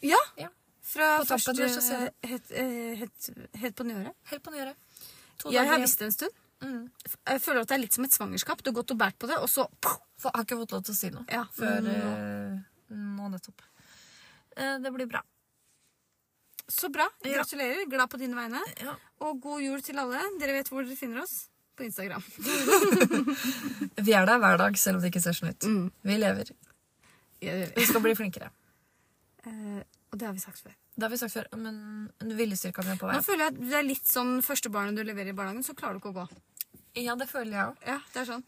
Ja,
Ja.
fra
På
første
toppen der så ser
helt, eh, helt, helt på nyåret.
Helt på nyåret. To
Jeg
dager
har
igjen.
visst det en stund.
Mm.
Jeg føler at det er litt som et svangerskap. Du har gått og båret på det, og så
For jeg har ikke fått lov til å si noe
Ja, Mm.
før
nå.
eh, nå nettopp. Mm, Eh, det blir bra.
Så bra.
Ja.
Gratulerer. Glad på dine vegne.
Ja.
Og god jul til alle. Dere vet hvor dere finner oss. På Instagram.
Vi er der hver dag, selv om det ikke ser sånn ut.
Mm.
Vi lever. Vi skal bli flinkere.
Eh, og det har vi sagt før.
Det har vi sagt før, men viljestyrka mi er på vei.
Nå føler jeg at det er litt sånn første barnet du leverer i barnehagen, så klarer du ikke å gå.
Ja, det føler jeg òg.
Ja, det er sånn.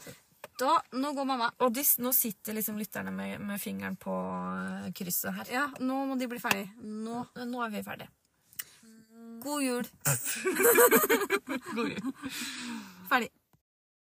Da, nå går mamma.
Og de, nå sitter liksom lytterne med, med fingeren på eh, krysset her.
Ja, nå må de bli ferdig. Nå.
Nå er vi ferdige.
God jul. Ferdig.